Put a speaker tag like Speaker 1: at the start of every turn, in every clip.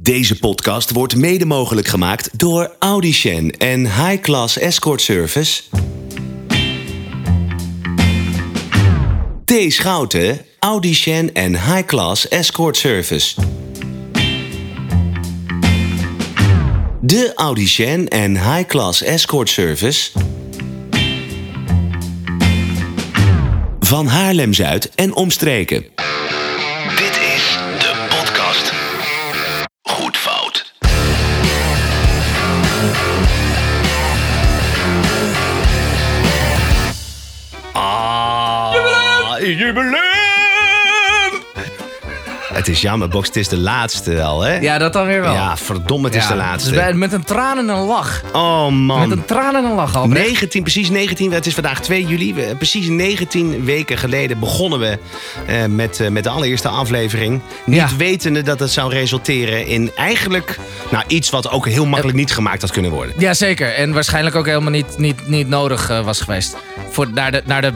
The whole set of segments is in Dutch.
Speaker 1: Deze podcast wordt mede mogelijk gemaakt door Audicen en High Class Escort Service. T. Schouten, Audicen en High Class Escort Service. De Audicen en High Class Escort Service. Van Haarlem Zuid en omstreken.
Speaker 2: Dit is de podcast. Goed fout.
Speaker 3: Ah,
Speaker 1: Het is jammer, Box. Het is de laatste al, hè?
Speaker 3: Ja, dat dan weer wel.
Speaker 1: Ja, verdomme, het is
Speaker 3: Ja,
Speaker 1: de
Speaker 3: dus
Speaker 1: laatste.
Speaker 3: bij- met een traan en een lach.
Speaker 1: Oh,
Speaker 3: Met
Speaker 1: man.
Speaker 3: een traan en een lach, Albert.
Speaker 1: 19, precies 19, het is vandaag 2 juli. We- Precies 19 weken geleden begonnen we eh, met, eh, met de allereerste aflevering. Niet
Speaker 3: Ja.
Speaker 1: wetende dat het zou resulteren in eigenlijk nou, iets wat ook heel
Speaker 3: Eh,
Speaker 1: makkelijk niet gemaakt had kunnen worden.
Speaker 3: Jazeker. En waarschijnlijk ook helemaal niet, niet, niet nodig eh, was geweest. Voor, naar, de, naar, de,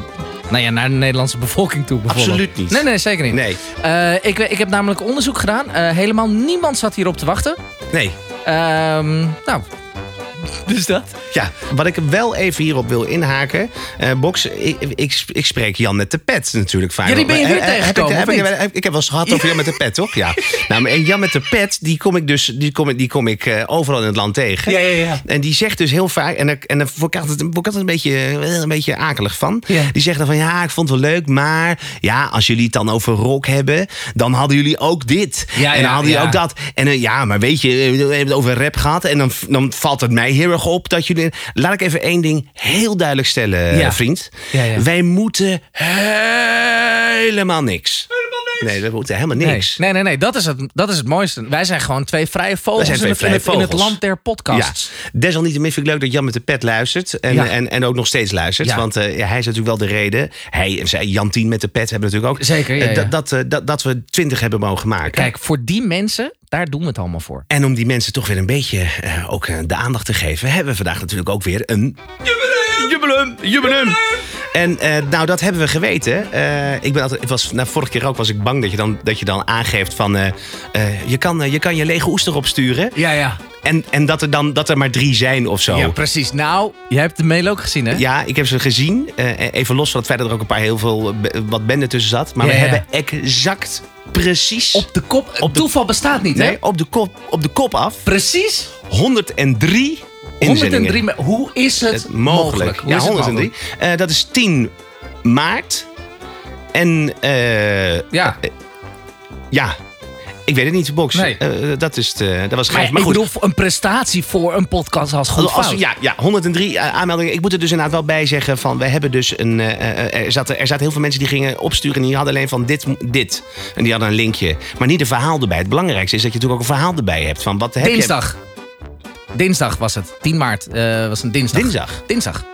Speaker 3: nou ja, naar de Nederlandse bevolking toe bijvoorbeeld.
Speaker 1: Absoluut niet.
Speaker 3: Nee, nee, zeker niet.
Speaker 1: Nee,
Speaker 3: Eh, ik, we- ik heb namelijk onderzoek gedaan. Eh, helemaal niemand zat hierop te wachten.
Speaker 1: nee.
Speaker 3: Ehm, nou, dus dat.
Speaker 1: Ja, wat ik wel even hierop wil inhaken. eh Box, ik, ik, ik spreek Jan met de pet natuurlijk vaak.
Speaker 3: Ja, die ben je
Speaker 1: Maar,
Speaker 3: weer
Speaker 1: eh, eh, heb ik-
Speaker 3: tegengekomen,
Speaker 1: heb
Speaker 3: of
Speaker 1: ik,
Speaker 3: niet?
Speaker 1: heb ik, heb wel eens gehad over Jan met de pet, toch? Ja. Nou, maar en Jan met de pet, die kom ik dus die kom, ik- die kom ik, eh, overal in het land tegen.
Speaker 3: ja.
Speaker 1: En die zegt dus heel vaak, en daar en daar word ik altijd, word ik altijd een, beetje, eh, een beetje akelig van.
Speaker 3: Ja.
Speaker 1: Die zegt dan van ja, ik vond het wel leuk, maar ja, als jullie het dan over rock hebben, dan hadden jullie ook dit.
Speaker 3: Ja,
Speaker 1: en dan
Speaker 3: ja,
Speaker 1: hadden jullie
Speaker 3: ja.
Speaker 1: ook dat. En eh, ja, maar weet je, eh, we hebben het over rap gehad en dan, dan valt het mij heel erg op dat jullie. Laat ik even één ding heel duidelijk stellen, eh,
Speaker 3: Ja.
Speaker 1: vriend.
Speaker 3: Ja, ja.
Speaker 1: Wij moeten helemaal niks. Nee, we moeten helemaal
Speaker 3: Nee,
Speaker 1: niks.
Speaker 3: nee, nee, nee, dat, is het, dat is het mooiste. Wij zijn gewoon twee vrije vogels,
Speaker 1: Wij zijn
Speaker 3: in, het,
Speaker 1: twee
Speaker 3: in het-
Speaker 1: vrije
Speaker 3: in het
Speaker 1: vogels.
Speaker 3: land der podcasts.
Speaker 1: Ja. Desalniettemin vind ik leuk dat Jan met de pet luistert. En, eh,
Speaker 3: Ja.
Speaker 1: en, en ook nog steeds luistert.
Speaker 3: Ja.
Speaker 1: Want eh, ja, hij is natuurlijk wel de reden. Hij en zij, Jan Tien met de pet hebben natuurlijk ook.
Speaker 3: Zeker, ja,
Speaker 1: eh,
Speaker 3: ja.
Speaker 1: Dat, dat, eh, dat, dat we twintig hebben mogen maken.
Speaker 3: Kijk, voor die mensen, daar doen we het allemaal voor.
Speaker 1: En om die mensen toch weer een beetje eh, ook eh, de aandacht te geven, hebben we vandaag natuurlijk ook weer een. Jubileum! Jubileum! Jubileum! En eh, nou, dat hebben we geweten. Eh, ik ben altijd, ik was, nou, vorige keer ook was ik bang dat je dan, dat je dan aangeeft van. eh, eh, je, kan, eh, je kan je lege oester opsturen.
Speaker 3: Ja, ja.
Speaker 1: En, en dat, er dan, dat er maar drie zijn of zo.
Speaker 3: Ja, precies. Nou, jij hebt de mail ook gezien, hè?
Speaker 1: Ja, ik heb ze gezien. Eh, even los van het feit dat er ook een paar heel veel eh, be- wat benden tussen zat. Maar
Speaker 3: Ja,
Speaker 1: we
Speaker 3: ja.
Speaker 1: hebben exact precies
Speaker 3: Op de kop.
Speaker 1: Op de-
Speaker 3: Toeval bestaat niet, hè?
Speaker 1: nee, op, de kop, op de kop af
Speaker 3: Precies.
Speaker 1: 103 inzendingen.
Speaker 3: 103. me- Hoe is het,
Speaker 1: Het mogelijk.
Speaker 3: Hoe is
Speaker 1: Ja,
Speaker 3: het
Speaker 1: 103.
Speaker 3: mogelijk?
Speaker 1: Eh, dat is 10 maart. En eh,
Speaker 3: Ja,
Speaker 1: ja, ik weet het niet, Box.
Speaker 3: Nee.
Speaker 1: Eh, dat, is het, eh, dat was
Speaker 3: maar,
Speaker 1: grijs.
Speaker 3: ik bedoel, voor een prestatie voor een podcast als goed
Speaker 1: Als-
Speaker 3: fout.
Speaker 1: ja, ja, 103 a- aanmeldingen. Ik moet er dus inderdaad wel bij zeggen van... we hebben dus een... eh, eh, er, zaten, er zaten heel veel mensen die gingen opsturen... en die hadden alleen van dit, dit. En die hadden een linkje. Maar niet een verhaal erbij. Het belangrijkste is dat je natuurlijk ook een verhaal erbij hebt. Van wat heb
Speaker 3: Dinsdag. Dinsdag was het. 10 maart eh, was een
Speaker 1: je...
Speaker 3: dinsdag.
Speaker 1: Dinsdag.
Speaker 3: Dinsdag.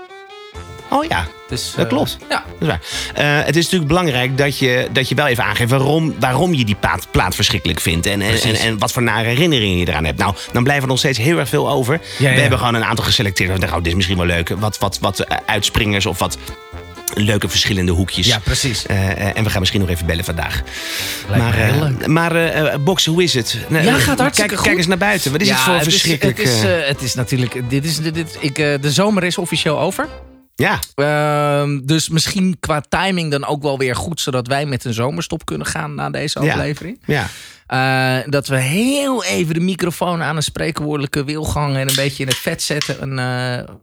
Speaker 1: Oh ja,
Speaker 3: Dus,
Speaker 1: Dat
Speaker 3: eh,
Speaker 1: klopt.
Speaker 3: Ja.
Speaker 1: dat is waar. Eh, het is natuurlijk belangrijk dat je, dat je wel even aangeeft... waarom, waarom je die plaat, plaat verschrikkelijk vindt. En, en, en,
Speaker 3: Precies.
Speaker 1: en wat voor nare herinneringen je eraan hebt. Nou, dan blijven er nog steeds heel erg veel over.
Speaker 3: Ja,
Speaker 1: We
Speaker 3: ja.
Speaker 1: hebben gewoon een aantal geselecteerd. We dachten, oh, dit is misschien wel leuk. Wat, wat, wat eh, uitspringers of wat... Leuke verschillende hoekjes.
Speaker 3: Ja, precies.
Speaker 1: Eh, eh, en we gaan misschien nog even bellen vandaag.
Speaker 3: Lijkt
Speaker 1: maar
Speaker 3: me heel
Speaker 1: eh, maar eh, eh, Box, hoe is het? Nou,
Speaker 3: Ja,
Speaker 1: eh,
Speaker 3: gaat hartstikke
Speaker 1: kijk,
Speaker 3: goed.
Speaker 1: Kijk eens naar buiten. Wat is het voor
Speaker 3: het
Speaker 1: verschrikkelijk...
Speaker 3: Is, het, is,
Speaker 1: eh,
Speaker 3: eh, het is natuurlijk... Dit is, dit, dit- ik, eh, de zomer is officieel over.
Speaker 1: ja,
Speaker 3: Ehm, dus misschien qua timing dan ook wel weer goed... zodat wij met een zomerstop kunnen gaan na deze
Speaker 1: Ja.
Speaker 3: aflevering.
Speaker 1: ja.
Speaker 3: Eh, dat we heel even de microfoon aan een spreekwoordelijke wilgang... en een beetje in het vet zetten. En, eh,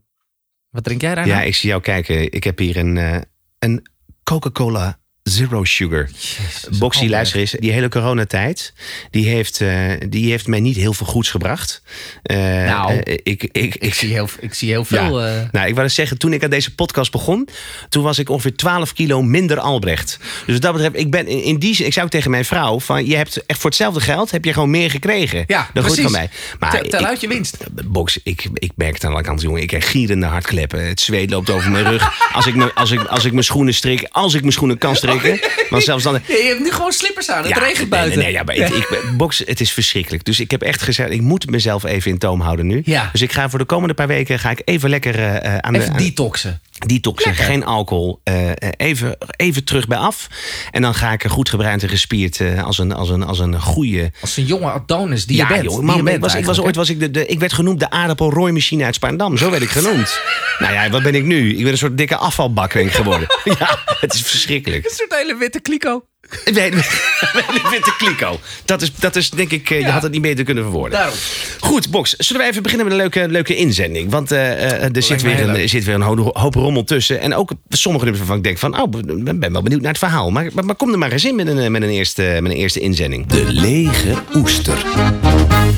Speaker 3: wat drink jij daar
Speaker 1: ja,
Speaker 3: nou?
Speaker 1: ik zie jou kijken. Ik heb hier een, eh, een Coca-Cola Zero Sugar.
Speaker 3: Jezus, oh,
Speaker 1: Boxy,
Speaker 3: Albert.
Speaker 1: luister eens. Die hele coronatijd, die heeft, eh, die heeft mij niet heel veel goeds gebracht. Eh,
Speaker 3: Nou.
Speaker 1: eh, ik, ik,
Speaker 3: Ik
Speaker 1: ik,
Speaker 3: zie heel, ik zie heel veel... eh,
Speaker 1: Nou, ik wou eens zeggen, toen ik aan deze podcast begon, toen was ik ongeveer 12 kilo minder Albrecht. Dus wat dat betreft, ik ben in, in die zin, ik zou ook tegen mijn vrouw van, je hebt echt voor hetzelfde geld, heb je gewoon meer gekregen.
Speaker 3: Ja,
Speaker 1: dat
Speaker 3: precies.
Speaker 1: van mij. Maar
Speaker 3: tel- tel
Speaker 1: ik-
Speaker 3: uit je winst.
Speaker 1: Box, ik, ik merk het aan de andere kant, jongen. Ik krijg gierende hartkleppen. Het zweet loopt over mijn rug. Als ik, me- als, ik, als ik mijn schoenen strik, als ik mijn schoenen kan strikken.
Speaker 3: Oh.
Speaker 1: Want zelfs dan...
Speaker 3: Ja, je hebt nu gewoon slippers aan. Het regent
Speaker 1: nee,
Speaker 3: buiten.
Speaker 1: Nee, nee, ja, maar ik, ik- box, het is verschrikkelijk. Dus ik heb echt gezegd, ik moet mezelf even in toom houden nu.
Speaker 3: Ja.
Speaker 1: Dus ik ga voor de komende paar weken ga ik even lekker eh, eh, aan de...
Speaker 3: Even
Speaker 1: aan-
Speaker 3: detoxen.
Speaker 1: Detoxen, geen alcohol. eh, eh, even, even terug bij af. En dan ga ik er goed gebruind en gespierd eh, als, een, als, een, als een goede
Speaker 3: Als een jonge Adonis die je bent.
Speaker 1: joh,
Speaker 3: die
Speaker 1: man,
Speaker 3: je bent
Speaker 1: ik was, ik was
Speaker 3: eigenlijk,
Speaker 1: ooit was ik de, de- ik werd genoemd de aardappelrooimachine uit Spaandam. Zo werd ik genoemd. nou ja, wat ben ik nu? Ik ben een soort dikke afvalbak ben ik geworden. ja, het is
Speaker 3: hè?
Speaker 1: verschrikkelijk.
Speaker 3: Een soort hele witte kliko.
Speaker 1: Ik weet ik vind de kliko. Dat is, dat is denk ik, eh, je
Speaker 3: Ja.
Speaker 1: had het niet beter kunnen verwoorden.
Speaker 3: Daarom.
Speaker 1: Goed, Box, zullen we even beginnen met een leuke, leuke inzending? Want eh, eh, er zit
Speaker 3: me
Speaker 1: weer,
Speaker 3: heel
Speaker 1: een,
Speaker 3: leuk.
Speaker 1: zit weer een ho- hoop rommel tussen. En ook sommige nummers waarvan ik denk van, oh, ik ben wel benieuwd naar het verhaal. Maar, maar, maar kom er maar eens in met een, eh, met een, eerste, met een eerste inzending.
Speaker 2: De lege oester.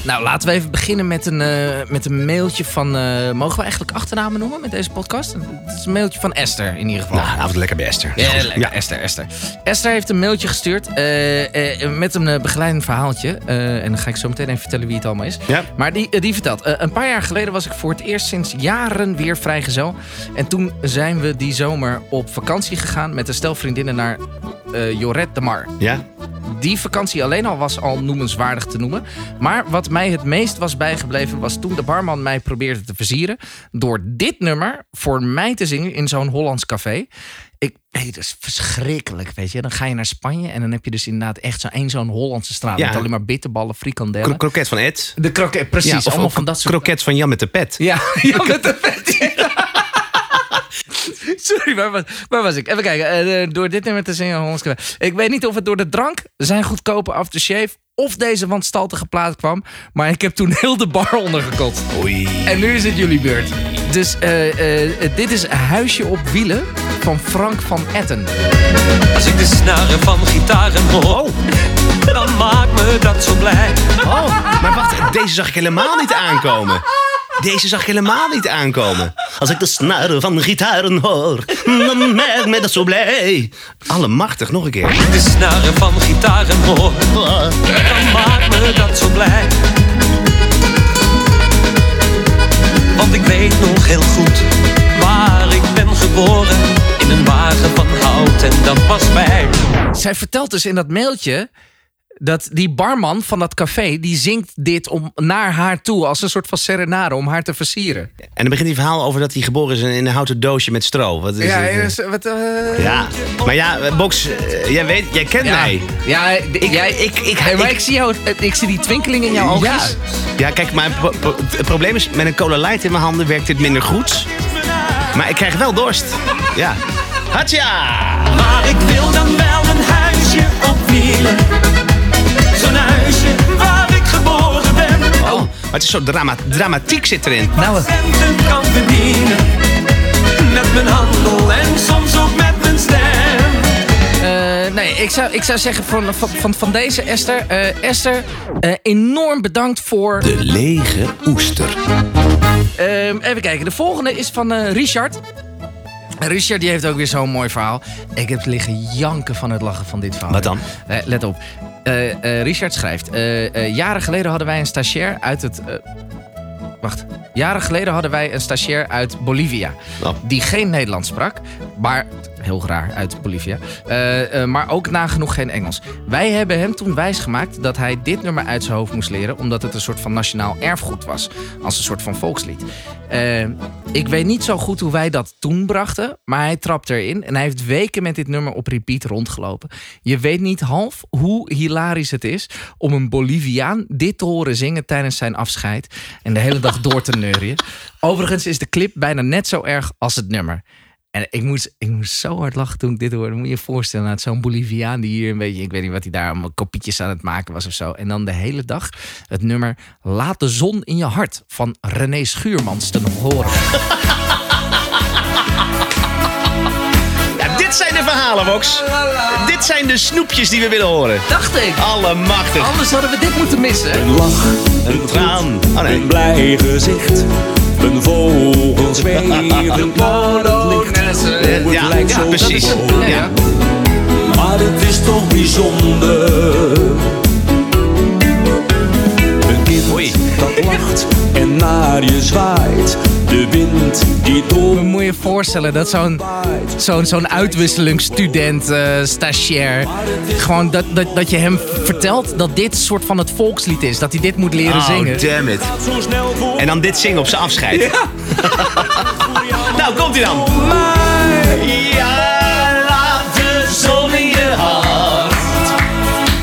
Speaker 3: Nou, laten we even beginnen met een, eh, met een mailtje van... eh, mogen we eigenlijk achternamen noemen met deze podcast? Het is een mailtje van Esther in ieder geval.
Speaker 1: Nou, avond lekker bij Esther.
Speaker 3: Ja, lekker. Esther, Esther. Esther heeft een mailtje gestuurd eh, eh, met een eh, begeleidend verhaaltje. Eh, en dan ga ik zo meteen even vertellen wie het allemaal is.
Speaker 1: Ja.
Speaker 3: Maar die, eh, die vertelt, eh, een paar jaar geleden was ik voor het eerst sinds jaren weer vrijgezel. En toen zijn we die zomer op vakantie gegaan met een stel vriendinnen naar eh, Joret de Mar.
Speaker 1: Ja?
Speaker 3: Die vakantie alleen al was al noemenswaardig te noemen. Maar wat mij het meest was bijgebleven was toen de barman mij probeerde te versieren... door dit nummer voor mij te zingen in zo'n Hollands café. Ik, hey, dat is verschrikkelijk, weet je. Dan ga je naar Spanje en dan heb je dus inderdaad echt zo'n één zo'n Hollandse straat...
Speaker 1: Ja.
Speaker 3: met alleen maar bitterballen, frikandellen.
Speaker 1: Kro- kroket van Ed.
Speaker 3: de kroket, precies.
Speaker 1: Ja, of
Speaker 3: allemaal
Speaker 1: ook
Speaker 3: van dat soort...
Speaker 1: Kroket van Jan met de pet.
Speaker 3: Ja, ja met de vet. Sorry, waar was, waar was ik? Even kijken. eh, door dit nummer te zingen, Hollands Café. Ik weet niet of het door de drank, zijn goedkope aftershave... of deze wanstaltige plaat kwam. Maar ik heb toen heel de bar ondergekotst.
Speaker 1: Oei.
Speaker 3: En nu is het jullie beurt. Dus eh, eh, eh, dit is Huisje op Wielen van Frank van Etten.
Speaker 4: Als ik de snaren van gitaren hoor,
Speaker 1: Oh,
Speaker 4: dan maakt me dat zo blij.
Speaker 1: oh, maar wacht, deze zag ik helemaal niet aankomen. Deze zag ik helemaal niet aankomen. Als ik de snaren van gitaren hoor, dan merk me dat zo blij. Allemachtig, nog een keer.
Speaker 4: De snaren van gitaren hoor, dan maakt me dat zo blij. Want ik weet nog heel goed waar ik ben geboren. In een wagen van hout en dat was mij.
Speaker 3: Zij vertelt dus in dat mailtje dat die barman van dat café... die zingt dit om, naar haar toe als een soort van serenade om haar te versieren.
Speaker 1: En dan begint die verhaal over dat hij geboren is in een houten doosje met stro. Wat is
Speaker 3: Ja,
Speaker 1: het?
Speaker 3: dus, wat, eh,
Speaker 1: ja, maar ja, eh, Box, eh, jij, weet, jij kent
Speaker 3: ja.
Speaker 1: mij.
Speaker 3: Ja, ik, jij, ik, ik, maar ik, zie jou, ik zie die twinkeling in jouw ogen.
Speaker 1: Ja. ja, kijk, mijn pro- pro- het probleem is, met een cola light in mijn handen werkt dit minder goed. Maar ik krijg wel dorst. Ja. Hatja!
Speaker 4: Maar ik wil dan wel een huisje op wielen. Zo'n huisje waar ik geboren ben.
Speaker 1: Oh, maar het is zo drama dramatiek zit erin.
Speaker 3: Nou, eh,
Speaker 4: centen kan verdienen. Met mijn handel en soms ook met mijn stem.
Speaker 3: eh, nee, ik zou, ik zou zeggen van, van, van, van deze Esther. eh, Esther, eh, enorm bedankt voor...
Speaker 2: De lege oester.
Speaker 3: Ehm, even kijken, de volgende is van eh, Richard. Richard die heeft ook weer zo'n mooi verhaal. Ik heb liggen janken van het lachen van dit verhaal.
Speaker 1: Wat dan?
Speaker 3: Eh, let op. Eh, eh, Richard schrijft... eh, eh, jaren geleden hadden wij een stagiair uit het... eh, wacht. Jaren geleden hadden wij een stagiair uit Bolivia.
Speaker 1: Oh.
Speaker 3: Die geen Nederlands sprak, maar... Heel raar, uit Bolivia. Eh, eh, maar ook nagenoeg geen Engels. Wij hebben hem toen wijsgemaakt dat hij dit nummer uit zijn hoofd moest leren... omdat het een soort van nationaal erfgoed was. Als een soort van volkslied. Eh, ik weet niet zo goed hoe wij dat toen brachten, maar hij trapt erin en hij heeft weken met dit nummer op repeat rondgelopen. Je weet niet half hoe hilarisch het is om een Boliviaan dit te horen zingen tijdens zijn afscheid en de hele dag door te neurien. Overigens is de clip bijna net zo erg als het nummer. En ik moest, ik moest zo hard lachen toen ik dit hoorde. Moet je je voorstellen, nou, zo'n Boliviaan die hier een beetje... Ik weet niet wat hij daar allemaal kopietjes aan het maken was of zo. En dan de hele dag het nummer Laat de zon in je hart van René Schuurmans te nog horen.
Speaker 1: Ja, dit zijn de verhalen, Vox. Dit zijn de snoepjes die we willen horen.
Speaker 3: Dacht ik!
Speaker 1: Allemachtig.
Speaker 3: Anders hadden we dit moeten missen.
Speaker 5: Een lach,
Speaker 1: Een traan. Oh nee.
Speaker 5: een blij gezicht. Een vogel zweeft naar het licht.
Speaker 1: Eh,
Speaker 5: Het
Speaker 1: Ja,
Speaker 5: lijkt
Speaker 1: ja,
Speaker 5: zo
Speaker 1: precies.
Speaker 5: gewoon.
Speaker 1: Ja.
Speaker 3: ja.
Speaker 5: Maar het is toch bijzonder. Een kip
Speaker 1: Oei.
Speaker 5: dat lacht en naar je zwaait. De wind die door
Speaker 3: Moet je je voorstellen dat zo'n zo'n zo'n uitwisselingsstudent, eh, stagiair. Gewoon dat, dat, dat je hem vertelt dat dit soort van het volkslied is. Dat hij dit moet leren
Speaker 1: Oh,
Speaker 3: zingen.
Speaker 1: damn it. En dan dit zingen op zijn afscheid. nou, komt ie dan. Ja, laat de zon in je hart.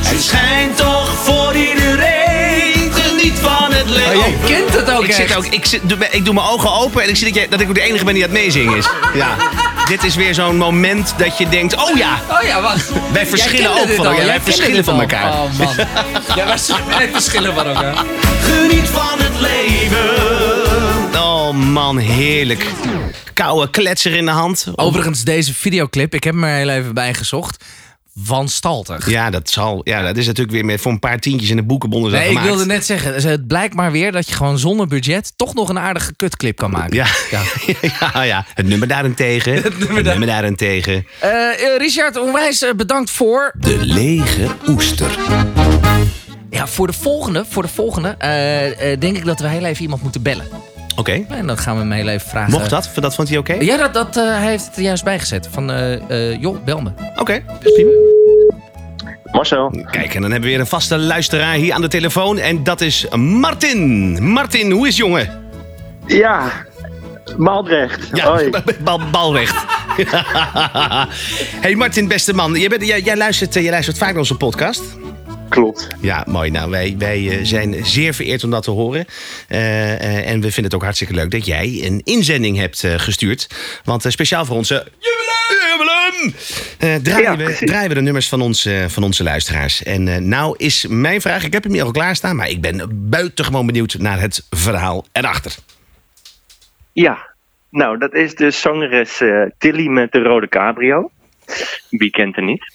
Speaker 1: Ze schijnt toch voor iedereen. Geniet van het leven.
Speaker 3: Oh, jij kent het ook
Speaker 1: Ik,
Speaker 3: echt.
Speaker 1: zit ook, ik, zit, doe- ik doe mijn ogen open en ik zie dat, jij, dat ik ook de enige ben die aan het meezingen is. Ja. Dit is weer zo'n moment dat je denkt, oh ja,
Speaker 3: Oh ja, wacht.
Speaker 1: Wij verschillen
Speaker 3: Jij kende
Speaker 1: ook
Speaker 3: dit
Speaker 1: van
Speaker 3: al,
Speaker 1: elkaar.
Speaker 3: jij
Speaker 1: Wij
Speaker 3: kende
Speaker 1: verschillen
Speaker 3: dit
Speaker 1: van
Speaker 3: al.
Speaker 1: elkaar.
Speaker 3: Oh man. Ja, wij verschillen van elkaar.
Speaker 1: Geniet van het leven. Oh man, heerlijk. Koude kletser in de hand.
Speaker 3: Overigens, deze videoclip, ik heb hem er heel even bij gezocht. Wanstaltig.
Speaker 1: Ja, dat zal. Ja, dat is natuurlijk weer met, voor een paar tientjes in de boekenbonden zijn
Speaker 3: Nee, ik
Speaker 1: gemaakt.
Speaker 3: wilde net zeggen, het blijkt maar weer dat je gewoon zonder budget toch nog een aardige kutclip kan maken.
Speaker 1: Ja. Ja. ja, het nummer daarentegen. Het nummer, daarentegen.
Speaker 3: Eh, eh, Richard, onwijs eh, bedankt voor.
Speaker 2: De lege oester.
Speaker 3: Ja, voor de volgende, voor de volgende eh, eh, denk ik dat we heel even iemand moeten bellen.
Speaker 1: Oké,
Speaker 3: En dat gaan we hem heel even vragen.
Speaker 1: mocht dat? V- Dat vond hij oké?
Speaker 3: Ja, dat, dat, eh, hij heeft het er juist bijgezet. Van, eh, eh, joh, bel me.
Speaker 1: Oké, dat is prima.
Speaker 6: Marcel,
Speaker 1: Kijk, en dan hebben we weer een vaste luisteraar hier aan de telefoon. En dat is Martin. Martin, hoe is jongen?
Speaker 6: ja, Maaldrecht. Hoi.
Speaker 1: Bal, balrecht. hey Martin, beste man. Jij, bent, jij, jij, luistert, eh, jij luistert vaak naar onze podcast.
Speaker 6: Klopt.
Speaker 1: Ja, mooi. Nou, wij, wij eh, zijn zeer vereerd om dat te horen. Eh, eh, en we vinden het ook hartstikke leuk dat jij een inzending hebt eh, gestuurd. Want eh, speciaal voor onze jubileum eh, draaien,
Speaker 6: Ja,
Speaker 1: we,
Speaker 6: precies.
Speaker 1: draaien we de nummers van, ons, eh, van onze luisteraars. En eh, nou is mijn vraag, ik heb hem hier al klaarstaan... maar ik ben buitengewoon benieuwd naar het verhaal erachter.
Speaker 6: Ja, nou, dat is de zangeres eh, Tilly met de rode cabrio. Wie kent er niet?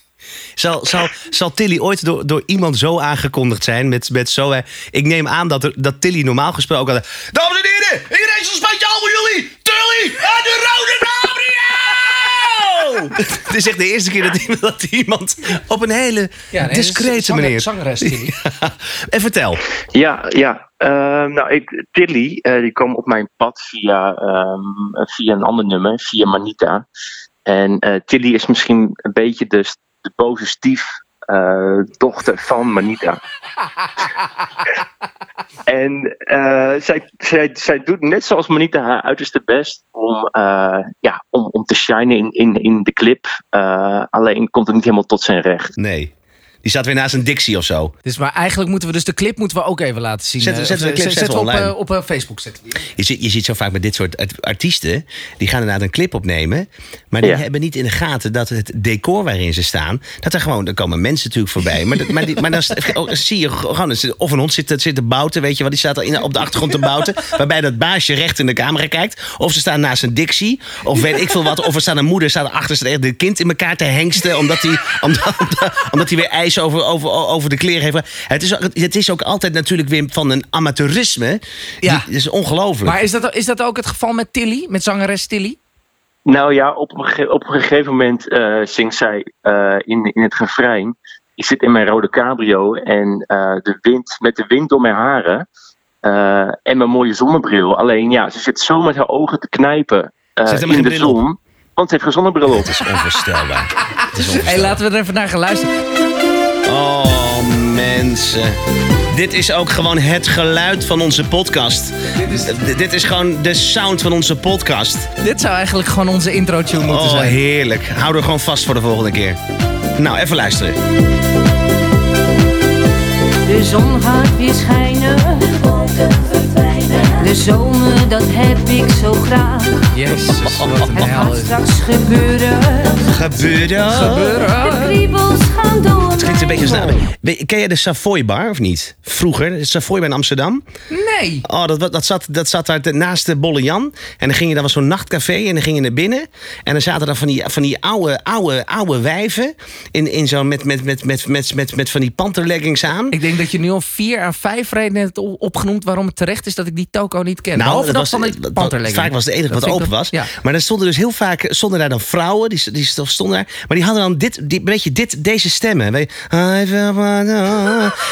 Speaker 1: Zal, zal, zal Tilly ooit door, door iemand zo aangekondigd zijn? Met, met zo, eh, ik neem aan dat, er, dat Tilly normaal gesproken had. Dames en heren, hier is een speciaal voor jullie. Tilly en de Rode Gabriel! Het is echt de eerste keer dat iemand, dat iemand op een hele discrete manier.
Speaker 3: Zangeres,
Speaker 1: en vertel.
Speaker 6: Ja, ja. Eh, nou, ik, Tilly, eh, die kwam op mijn pad via, ehm, via een ander nummer, via Manita. En eh, Tilly is misschien een beetje de, s- de boze stiefdochter van Manita. en eh, zij, zij, zij doet net zoals Manita haar uiterste best om, eh, ja, om, om te shinen in, in, in de clip. Eh, alleen komt het niet helemaal tot zijn recht.
Speaker 1: Nee. Die staat weer naast een Dixie of zo.
Speaker 3: Dus maar eigenlijk moeten we dus de clip moeten we ook even laten zien.
Speaker 1: Zet-
Speaker 3: Eh,
Speaker 1: zet
Speaker 3: of,
Speaker 1: de
Speaker 3: eh,
Speaker 1: clip,
Speaker 3: zet-
Speaker 1: zet
Speaker 3: zetten we op,
Speaker 1: online.
Speaker 3: eh, op eh, Facebook. Zetten we die.
Speaker 1: Je ziet, je ziet zo vaak met dit soort art- artiesten. Die gaan inderdaad een clip opnemen. Maar die
Speaker 6: Ja.
Speaker 1: hebben niet in de gaten dat het decor waarin ze staan. Dat er gewoon. Er komen mensen natuurlijk voorbij. Maar, dat- maar, die, maar dan st- oh, zie je gewoon. er zit- Of een hond zit, zit te bouten. Weet je wel. Die staat al in, op de achtergrond te bouten. Waarbij dat baasje recht in de camera kijkt. Of ze staan naast een Dixie. Of weet ik veel wat. Of er staat een moeder. Staat achter. Staat echt de kind in elkaar te hengsten. Omdat hij omdat, omdat- omdat hij weer ijs over, over, over de kleren heeft. Het is, ook- het is ook altijd natuurlijk weer van een amateurisme. Die-
Speaker 3: Ja.
Speaker 1: Dat is ongelooflijk.
Speaker 3: Maar is dat, is dat ook het geval met Tilly, met zangeres Tilly?
Speaker 6: Nou ja, op een, gege- op een gegeven moment eh, zingt zij eh, in, in het refrein. Ik zit in mijn rode cabrio en eh, de wind, met de wind door mijn haren. eh, en mijn mooie zonnebril. Alleen ja, ze zit zo met haar ogen te knijpen eh,
Speaker 1: Ze heeft helemaal
Speaker 6: in
Speaker 1: geen
Speaker 6: de
Speaker 1: bril op.
Speaker 6: zon. Want ze heeft geen zonnebril op.
Speaker 1: Het is onvoorstelbaar. Het is
Speaker 3: Hey,
Speaker 1: onvoorstelbaar.
Speaker 3: laten we er even naar gaan luisteren.
Speaker 1: Oh, mensen. Dit is ook gewoon het geluid van onze podcast. Dit is, dit is gewoon de sound van onze podcast.
Speaker 3: Dit zou eigenlijk gewoon onze intro-tune moeten
Speaker 1: Oh,
Speaker 3: zijn.
Speaker 1: heerlijk. Hou er gewoon vast voor de volgende keer. Nou, even luisteren.
Speaker 7: De zon gaat weer schijnen. De zomer, dat heb ik zo graag.
Speaker 3: Jezus, wat een
Speaker 7: Het
Speaker 3: hel.
Speaker 7: gaat straks gebeuren.
Speaker 1: Gebeuren. Gebeuren.
Speaker 7: De kriebels gaan door. Het
Speaker 1: Klinkt een beetje snel. We- Ken jij de Savoy Bar of niet? Vroeger, de Savoy Bar in Amsterdam.
Speaker 3: Nee.
Speaker 1: Oh, dat, wa- dat, zat, dat zat daar te- naast de Bolle Jan. En dan ging je, daar was zo'n nachtcafé en dan ging je naar binnen. En dan zaten daar van die, van die oude, oude, oude wijven. In, in zo'n met, met, met, met, met, met, met van die panterleggings aan.
Speaker 3: Ik denk dat je nu al vier à vijf redenen hebt op- opgenoemd waarom het terecht is dat ik die toko niet ken.
Speaker 1: Nou,
Speaker 3: Behalve dat
Speaker 1: was-
Speaker 3: van het
Speaker 1: dat-
Speaker 3: panterlegging.
Speaker 1: Vaak was het enige
Speaker 3: Dat
Speaker 1: wat
Speaker 3: vind
Speaker 1: open
Speaker 3: ik
Speaker 1: was.
Speaker 3: wel- ja.
Speaker 1: Maar dan stonden dus heel vaak stonden daar dan vrouwen. Die, die stonden daar. Maar die hadden dan dit, die, weet je, dit, deze stemmen. Weet je, I feel my-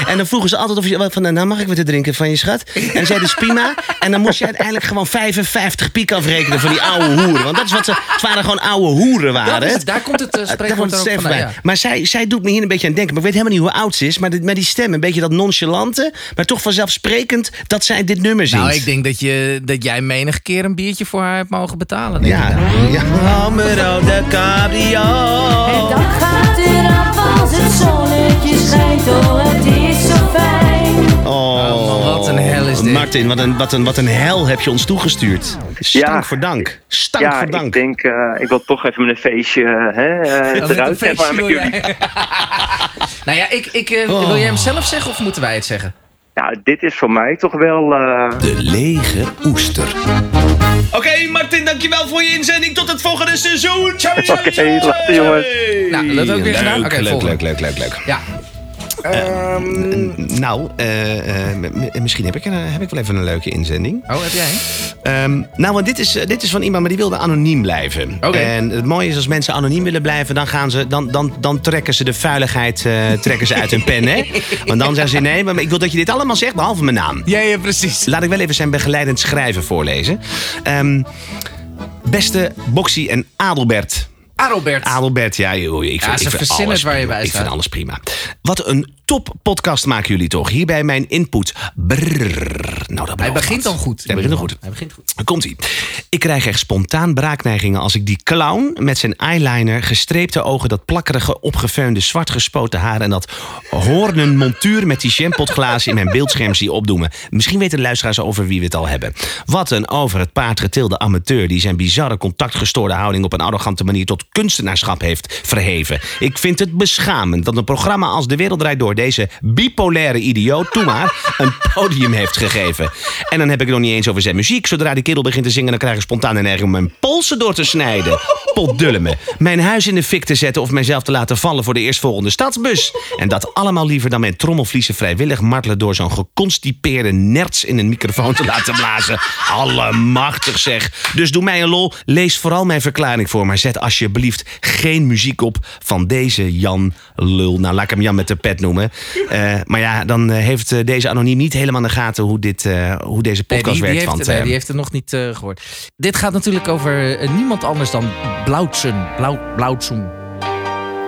Speaker 1: en dan vroegen ze altijd of je wat van nou mag ik wat te drinken van je schat. En dan zei dus prima. En dan moest je uiteindelijk gewoon 55 piek afrekenen van die oude hoeren. Want dat is wat ze. Het waren gewoon oude hoeren
Speaker 3: Dat
Speaker 1: waren.
Speaker 3: is-
Speaker 1: hè?
Speaker 3: daar komt het eh,
Speaker 1: Daar
Speaker 3: spreekwoord
Speaker 1: komt
Speaker 3: ook
Speaker 1: het
Speaker 3: vandaan.
Speaker 1: steeds bij.
Speaker 3: ja.
Speaker 1: Maar zij, zij doet me hier een beetje aan denken. Maar ik weet helemaal niet hoe oud ze is. Maar dit, met die stem, een beetje dat nonchalante. Maar toch vanzelfsprekend dat zij dit nummer zingt.
Speaker 3: Nou, ik denk dat, je, dat jij menig keer een biertje voor haar hebt mogen betalen. denk ik
Speaker 1: Ja,
Speaker 3: nou.
Speaker 1: ja. de
Speaker 7: En
Speaker 1: cabrio.
Speaker 7: dan gaat het af als het zonnetje schijnt. Oh, het is zo fijn.
Speaker 1: Oh,
Speaker 3: man, wat een hel is dit.
Speaker 1: Martin, wat een, wat, een, wat een hel heb je ons toegestuurd. Stank
Speaker 6: Ja.
Speaker 1: voor dank. Stank
Speaker 6: ja,
Speaker 1: voor
Speaker 6: ik
Speaker 1: dank.
Speaker 6: denk, eh, ik wil toch even met een feestje eh, hè, eh,
Speaker 3: Dat is een
Speaker 6: eruit
Speaker 3: feestje,
Speaker 6: hebben met
Speaker 3: wil
Speaker 6: jullie.
Speaker 3: jij. nou ja, ik, ik, eh,
Speaker 1: Oh.
Speaker 3: wil jij hem zelf zeggen of moeten wij het zeggen?
Speaker 6: Nou, dit is voor mij toch wel... eh,
Speaker 2: De lege oester.
Speaker 1: Oké, Martin, dankjewel voor je inzending. Tot het volgende seizoen.
Speaker 6: Oké, later, jongens.
Speaker 3: Nou, dat ook weer gedaan. Oké,
Speaker 1: leuk,
Speaker 3: volgende.
Speaker 1: leuk, leuk, leuk, leuk.
Speaker 3: Ja,
Speaker 1: Nou, eh, eh, m- m- misschien heb ik, een, heb ik wel even een leuke inzending.
Speaker 3: oh, heb jij?
Speaker 1: Ehm, nou, want dit is, eh, dit is van iemand, maar die wilde anoniem blijven.
Speaker 3: Oké.
Speaker 1: En het mooie is, als mensen anoniem willen blijven, dan, gaan ze, dan, dan, dan trekken ze de vuiligheid eh, trekken ze uit hun pen. Hè? Want dan zeggen ze, nee, maar ik wil dat je dit allemaal zegt, behalve mijn naam.
Speaker 3: Ja, ja, precies.
Speaker 1: Laat ik wel even zijn begeleidend schrijven voorlezen. Ehm, beste Boxy en Adelbert.
Speaker 3: Adelbert.
Speaker 1: Adelbert, ja, joh, ik
Speaker 3: Ja,
Speaker 1: vind,
Speaker 3: ze
Speaker 1: ik vind
Speaker 3: verzinnen
Speaker 1: alles
Speaker 3: het waar je
Speaker 1: prima.
Speaker 3: bij
Speaker 1: Ik
Speaker 3: staat.
Speaker 1: vind alles prima. Wat een top podcast maken jullie toch. Hierbij mijn input. Brrr. Nou, dat
Speaker 3: Hij
Speaker 1: belooft
Speaker 3: begint
Speaker 1: wat.
Speaker 3: dan goed.
Speaker 1: Hij begint dan goed.
Speaker 3: Hij begint goed.
Speaker 1: Komt ie. Ik krijg echt spontaan braakneigingen als ik die clown met zijn eyeliner, gestreepte ogen, dat plakkerige, opgeveunde, zwart gespoten haar en dat hoornen montuur met die champotglazen in mijn beeldscherm zie opdoemen. Misschien weten de luisteraars al over wie we het al hebben. Wat een over het paard getilde amateur die zijn bizarre contactgestoorde houding op een arrogante manier tot kunstenaarschap heeft verheven. Ik vind het beschamend dat een programma als De Wereld Draait Door deze bipolaire idioot, toe maar, een podium heeft gegeven. En dan heb ik het nog niet eens over zijn muziek. Zodra die kerel begint te zingen, dan krijg ik spontaan een neiging om mijn polsen door te snijden. Potdulle me. Mijn huis in de fik te zetten of mijzelf te laten vallen voor de eerstvolgende stadsbus. En dat allemaal liever dan mijn trommelvliezen vrijwillig martelen door zo'n geconstipeerde nerts in een microfoon te laten blazen. Allemachtig zeg. Dus doe mij een lol. Lees vooral mijn verklaring voor, maar zet alsjeblieft geen muziek op van deze Jan Lul. Nou, laat ik hem Jan met de pet noemen. Eh, maar ja, dan eh, heeft eh, deze anoniem niet helemaal in de gaten hoe, dit, eh, hoe deze podcast
Speaker 3: Nee, die, die,
Speaker 1: werkt.
Speaker 3: heeft,
Speaker 1: want,
Speaker 3: nee,
Speaker 1: eh,
Speaker 3: die heeft het nog niet eh, gehoord. Dit gaat natuurlijk over eh, niemand anders dan Blauwtsen. Blau, Blauwtsen.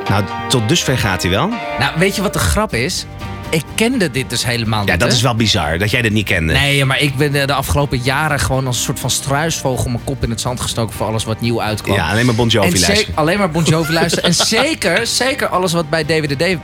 Speaker 1: Nou, tot dusver gaat hij wel.
Speaker 3: Nou, weet je wat de grap is? Ik kende dit dus helemaal niet.
Speaker 1: Ja, dat
Speaker 3: hè?
Speaker 1: is wel bizar dat jij dit niet kende.
Speaker 3: Nee, maar ik ben eh, de afgelopen jaren gewoon als een soort van struisvogel mijn kop in het zand gestoken voor alles wat nieuw uitkwam.
Speaker 1: Ja, alleen maar Bon Jovi
Speaker 3: En ze-
Speaker 1: luisteren.
Speaker 3: Alleen maar Bon Jovi luisteren. en zeker, zeker alles wat bij DWDD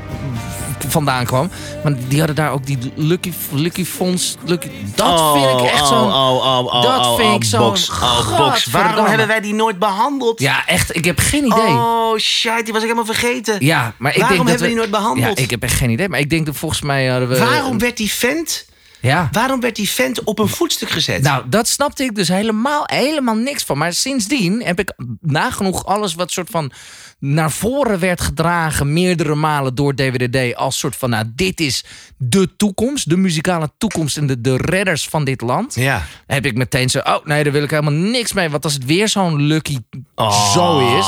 Speaker 3: vandaan kwam. Want die hadden daar ook die Lucky, Lucky Fonds. Lucky, dat vind ik echt
Speaker 1: oh,
Speaker 3: zo'n...
Speaker 1: Oh, oh, oh,
Speaker 3: dat
Speaker 1: oh,
Speaker 3: vind
Speaker 1: oh,
Speaker 3: ik zo'n-
Speaker 1: box, oh, box. Waarom
Speaker 3: Godverdamme.
Speaker 1: hebben wij die nooit behandeld?
Speaker 3: Ja, echt, ik heb geen idee.
Speaker 1: Oh, shit, die was ik helemaal vergeten.
Speaker 3: Ja, maar
Speaker 1: Waarom
Speaker 3: ik denk dat
Speaker 1: hebben we die nooit behandeld?
Speaker 3: Ja, ik heb echt geen idee. Maar ik denk dat volgens mij hadden we...
Speaker 1: Waarom werd die vent,
Speaker 3: Ja.
Speaker 1: waarom werd die vent op een voetstuk gezet?
Speaker 3: Nou, dat snapte ik dus helemaal, helemaal niks van. Maar sindsdien heb ik nagenoeg alles wat soort van naar voren werd gedragen, meerdere malen door DWDD, als soort van, nou, dit is de toekomst, de muzikale toekomst en de, de redders van dit land.
Speaker 1: ja.
Speaker 3: Heb ik meteen zo, oh nee, daar wil ik helemaal niks mee. Want als het weer zo'n lucky
Speaker 1: Oh,
Speaker 3: zo is,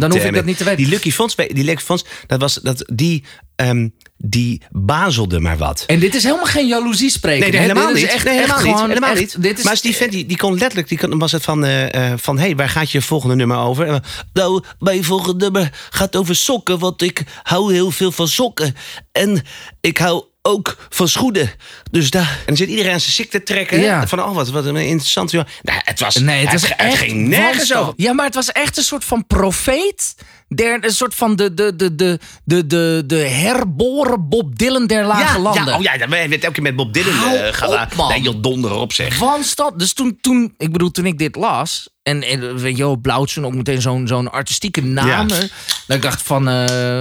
Speaker 3: dan hoef
Speaker 1: damn
Speaker 3: ik dat
Speaker 1: it.
Speaker 3: niet te weten.
Speaker 1: Die Lucky Fonds, die Lucky Fonds, dat was, dat, die, ehm, die bazelde maar wat.
Speaker 3: en dit is helemaal geen jaloezie spreken.
Speaker 1: Nee, nee,
Speaker 3: hè?
Speaker 1: helemaal
Speaker 3: Dit is
Speaker 1: niet.
Speaker 3: echt-
Speaker 1: Nee,
Speaker 3: echt
Speaker 1: helemaal niet.
Speaker 3: gewoon
Speaker 1: Helemaal
Speaker 3: echt-
Speaker 1: niet.
Speaker 3: Dit is,
Speaker 1: maar als die vent die, die kon letterlijk, die kon, was het van, eh, eh, van hé, hey, waar gaat je volgende nummer over? En, nou, mijn volgende nummer gaat over sokken, want ik hou heel veel van sokken. En ik hou ook van schoenen. Dus daar. En dan zit iedereen aan zijn ziekte trekken. hè?
Speaker 3: Ja.
Speaker 1: Van, oh, wat, wat een interessant. jongen. Nou, het was.
Speaker 3: Nee, het, was echt
Speaker 1: ging nergens
Speaker 3: wanstal.
Speaker 1: over.
Speaker 3: Ja, maar het was echt een soort van profeet. Der, een soort van de, de, de, de, de, de, de herboren Bob Dylan der lage landen.
Speaker 1: Ja, oh ja, dat werd elke keer met Bob Dylan
Speaker 3: Hou
Speaker 1: eh, gedaan.
Speaker 3: op, man.
Speaker 1: Nee, joh, donder op zeg.
Speaker 3: Wanstal. Dus toen, toen, ik bedoel, toen ik dit las. En, en weet je, wel, Blauwtsen ook meteen zo'n zo'n artistieke naam.
Speaker 1: Ja.
Speaker 3: hè, Dat ik dacht van, eh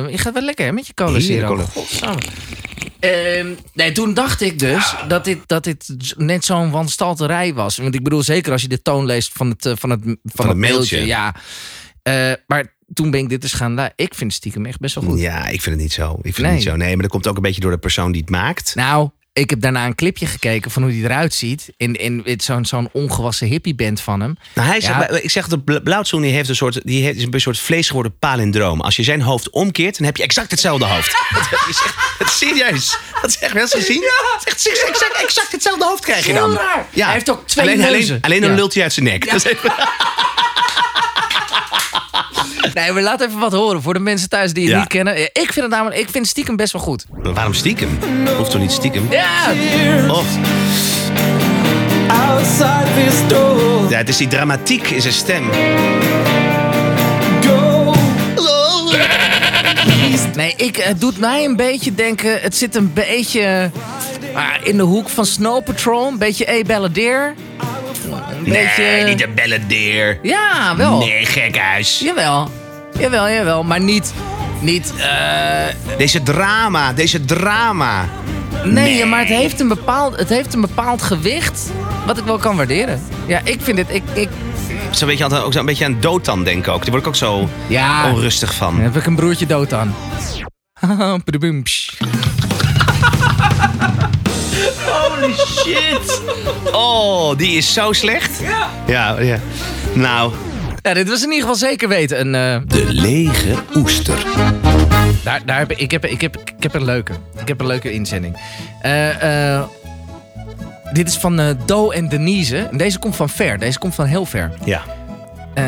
Speaker 3: je gaat wel lekker hè, met je cola
Speaker 1: Heerlijk,
Speaker 3: zero.
Speaker 1: cola.
Speaker 3: Godsamme. Ehm, nee, toen dacht ik dus dat dit, dat dit z- net zo'n wanstalterij was. Want ik bedoel, zeker als je de toon leest van het, eh, van het, van het
Speaker 1: mailtje.
Speaker 3: ja. Eh, maar toen ben ik dit dus gaan... lu- Ik vind het stiekem echt best wel goed.
Speaker 1: Ja, ik vind het niet zo. Ik vind
Speaker 3: Nee.
Speaker 1: het niet zo. Nee, maar dat komt ook een beetje door de persoon die het maakt.
Speaker 3: Nou, Ik heb daarna een clipje gekeken van hoe hij eruit ziet. In, in, in zo'n zo'n ongewassen hippieband van hem.
Speaker 1: Nou, hij
Speaker 3: Ja.
Speaker 1: zegt, ik zeg dat Bla- Blauwzoen die heeft een soort, die heeft, is een soort vlees geworden palindroom. Als je zijn hoofd omkeert, dan heb je exact hetzelfde hoofd. dat, is echt, dat is serieus. Dat is echt wel eens gezien. Het is echt exact, exact, exact hetzelfde hoofd krijg je
Speaker 3: Heel
Speaker 1: dan.
Speaker 3: raar. Hij heeft ook twee
Speaker 1: alleen, alleen-
Speaker 3: neuzen.
Speaker 1: Alleen, dan
Speaker 3: Ja.
Speaker 1: lult hij uit zijn nek. Dat is even-
Speaker 3: Nee, maar laat even wat horen voor de mensen thuis die het
Speaker 1: Ja.
Speaker 3: niet kennen. Ik vind het namelijk, ik vind het stiekem best wel goed.
Speaker 1: Maar Waarom stiekem? Hoeft toch niet stiekem?
Speaker 3: Ja,
Speaker 1: Of, ja, het is die dramatiek in zijn stem.
Speaker 3: Nee, ik, het doet mij een beetje denken. Het zit een beetje ah, in de hoek van Snow Patrol. Een beetje E. Balladeer. Een
Speaker 1: Nee, niet de belladeer.
Speaker 3: Ja, wel.
Speaker 1: Nee, gekhuis.
Speaker 3: Jawel. Jawel, jawel. Maar niet. Niet. eh,
Speaker 1: Deze drama, deze drama.
Speaker 3: nee, maar het heeft, een bepaald, het heeft een bepaald gewicht. Wat ik wel kan waarderen. Ja, ik vind dit. Ik, ik,
Speaker 1: Zo'n beetje, altijd ook zo'n beetje aan Dotan denken ook. Daar word ik ook zo
Speaker 3: ja.
Speaker 1: onrustig van.
Speaker 3: Dan Oh, heb ik een broertje dood aan. Padoeboem, psh.
Speaker 1: Shit. Oh, die is zo slecht. Ja. Ja, Nou,
Speaker 3: Ja, dit was in ieder geval zeker weten. Een, eh,
Speaker 2: De lege oester.
Speaker 3: Daar, daar heb ik, ik, heb, ik, heb, ik heb een leuke. Ik heb een leuke inzending. Eh, eh, dit is van eh, Do en Denise. En Deze komt van ver. Deze komt van heel ver.
Speaker 1: ja.
Speaker 3: Eh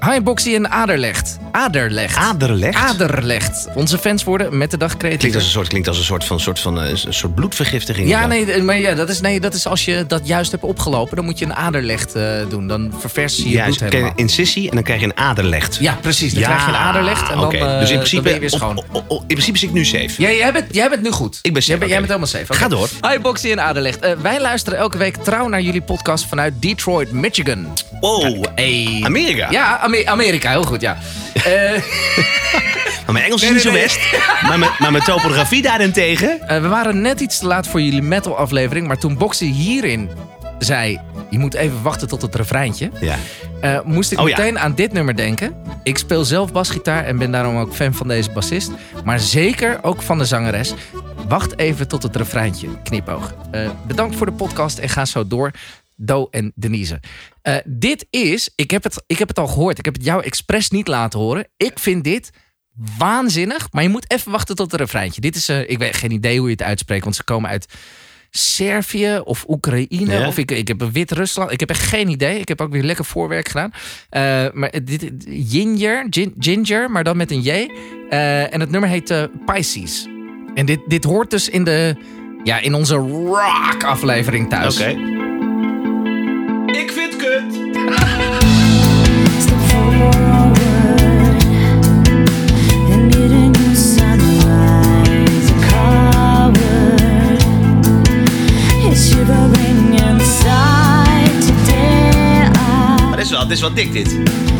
Speaker 3: Heinbox die een ader legt. Ader legt.
Speaker 1: Aderleg.
Speaker 3: Ader legt. Onze fans worden met de dag
Speaker 1: Klinkt
Speaker 3: creatiever.
Speaker 1: als een soort, klinkt als een soort van, soort van eh, een soort bloedvergiftiging.
Speaker 3: Ja, nee, eh, maar ja, dat is, nee, dat is als je dat juist hebt opgelopen. Dan moet je een aderlecht eh, doen. Dan ververs je je
Speaker 1: Ja,
Speaker 3: bloed
Speaker 1: dus
Speaker 3: helemaal.
Speaker 1: een incisie en dan krijg je een aderlegt.
Speaker 3: Ja, precies. Dan krijg je een aderlecht. En dan,
Speaker 1: oké.
Speaker 3: eh,
Speaker 1: dus in
Speaker 3: dan
Speaker 1: principe,
Speaker 3: ben je weer
Speaker 1: op-
Speaker 3: schoon.
Speaker 1: op- op- in principe zit ik nu safe.
Speaker 3: Ja, jij bent, jij bent nu goed.
Speaker 1: Ik ben safe,
Speaker 3: Jij, bent- jij
Speaker 1: oké.
Speaker 3: bent helemaal safe. oké.
Speaker 1: Ga door.
Speaker 3: Hi, Boxy en Aderlecht. Eh, wij luisteren elke week trouw naar jullie podcast vanuit Detroit, Michigan.
Speaker 1: Wow.
Speaker 3: Hey.
Speaker 1: Amerika.
Speaker 3: Ja, Ame- Amerika. Heel goed, ja. Eh, eh,
Speaker 1: Maar mijn Engels is
Speaker 3: Nee,
Speaker 1: niet zo
Speaker 3: nee,
Speaker 1: best. Maar, mijn, maar mijn topografie daarentegen.
Speaker 3: we waren net iets te laat voor jullie metal aflevering. Maar toen Boxy hierin zei... Je moet even wachten tot het refreintje.
Speaker 1: Ja.
Speaker 3: eh, moest ik
Speaker 1: Oh, ja.
Speaker 3: meteen aan dit nummer denken. Ik speel zelf basgitaar en ben daarom ook fan van deze bassist. Maar zeker ook van de zangeres. Wacht even tot het refreintje, knipoog. Eh, bedankt voor de podcast en ga zo door. Do en Denise. Eh, dit is, ik heb, het, ik heb het al gehoord, ik heb het jou expres niet laten horen. Ik vind dit waanzinnig, maar je moet even wachten tot het refreintje. Dit is, eh, ik weet geen idee hoe je het uitspreekt, want ze komen uit Servië of Oekraïne.
Speaker 1: Ja.
Speaker 3: Of ik, ik heb een Wit-Rusland. Ik heb echt geen idee. Ik heb ook weer lekker voorwerk gedaan. Eh, maar dit, ginger, gin- ginger, maar dan met een J. Eh, en het nummer heet eh, Pisces. En dit, dit hoort dus in, de, ja, in onze rock-aflevering thuis.
Speaker 1: Ik vind kut.
Speaker 7: Step forward and meet a new sunrise. Covered, it's shivering inside. Today,
Speaker 1: Maar
Speaker 7: a
Speaker 1: dit is wel, dit is wel dik, dit.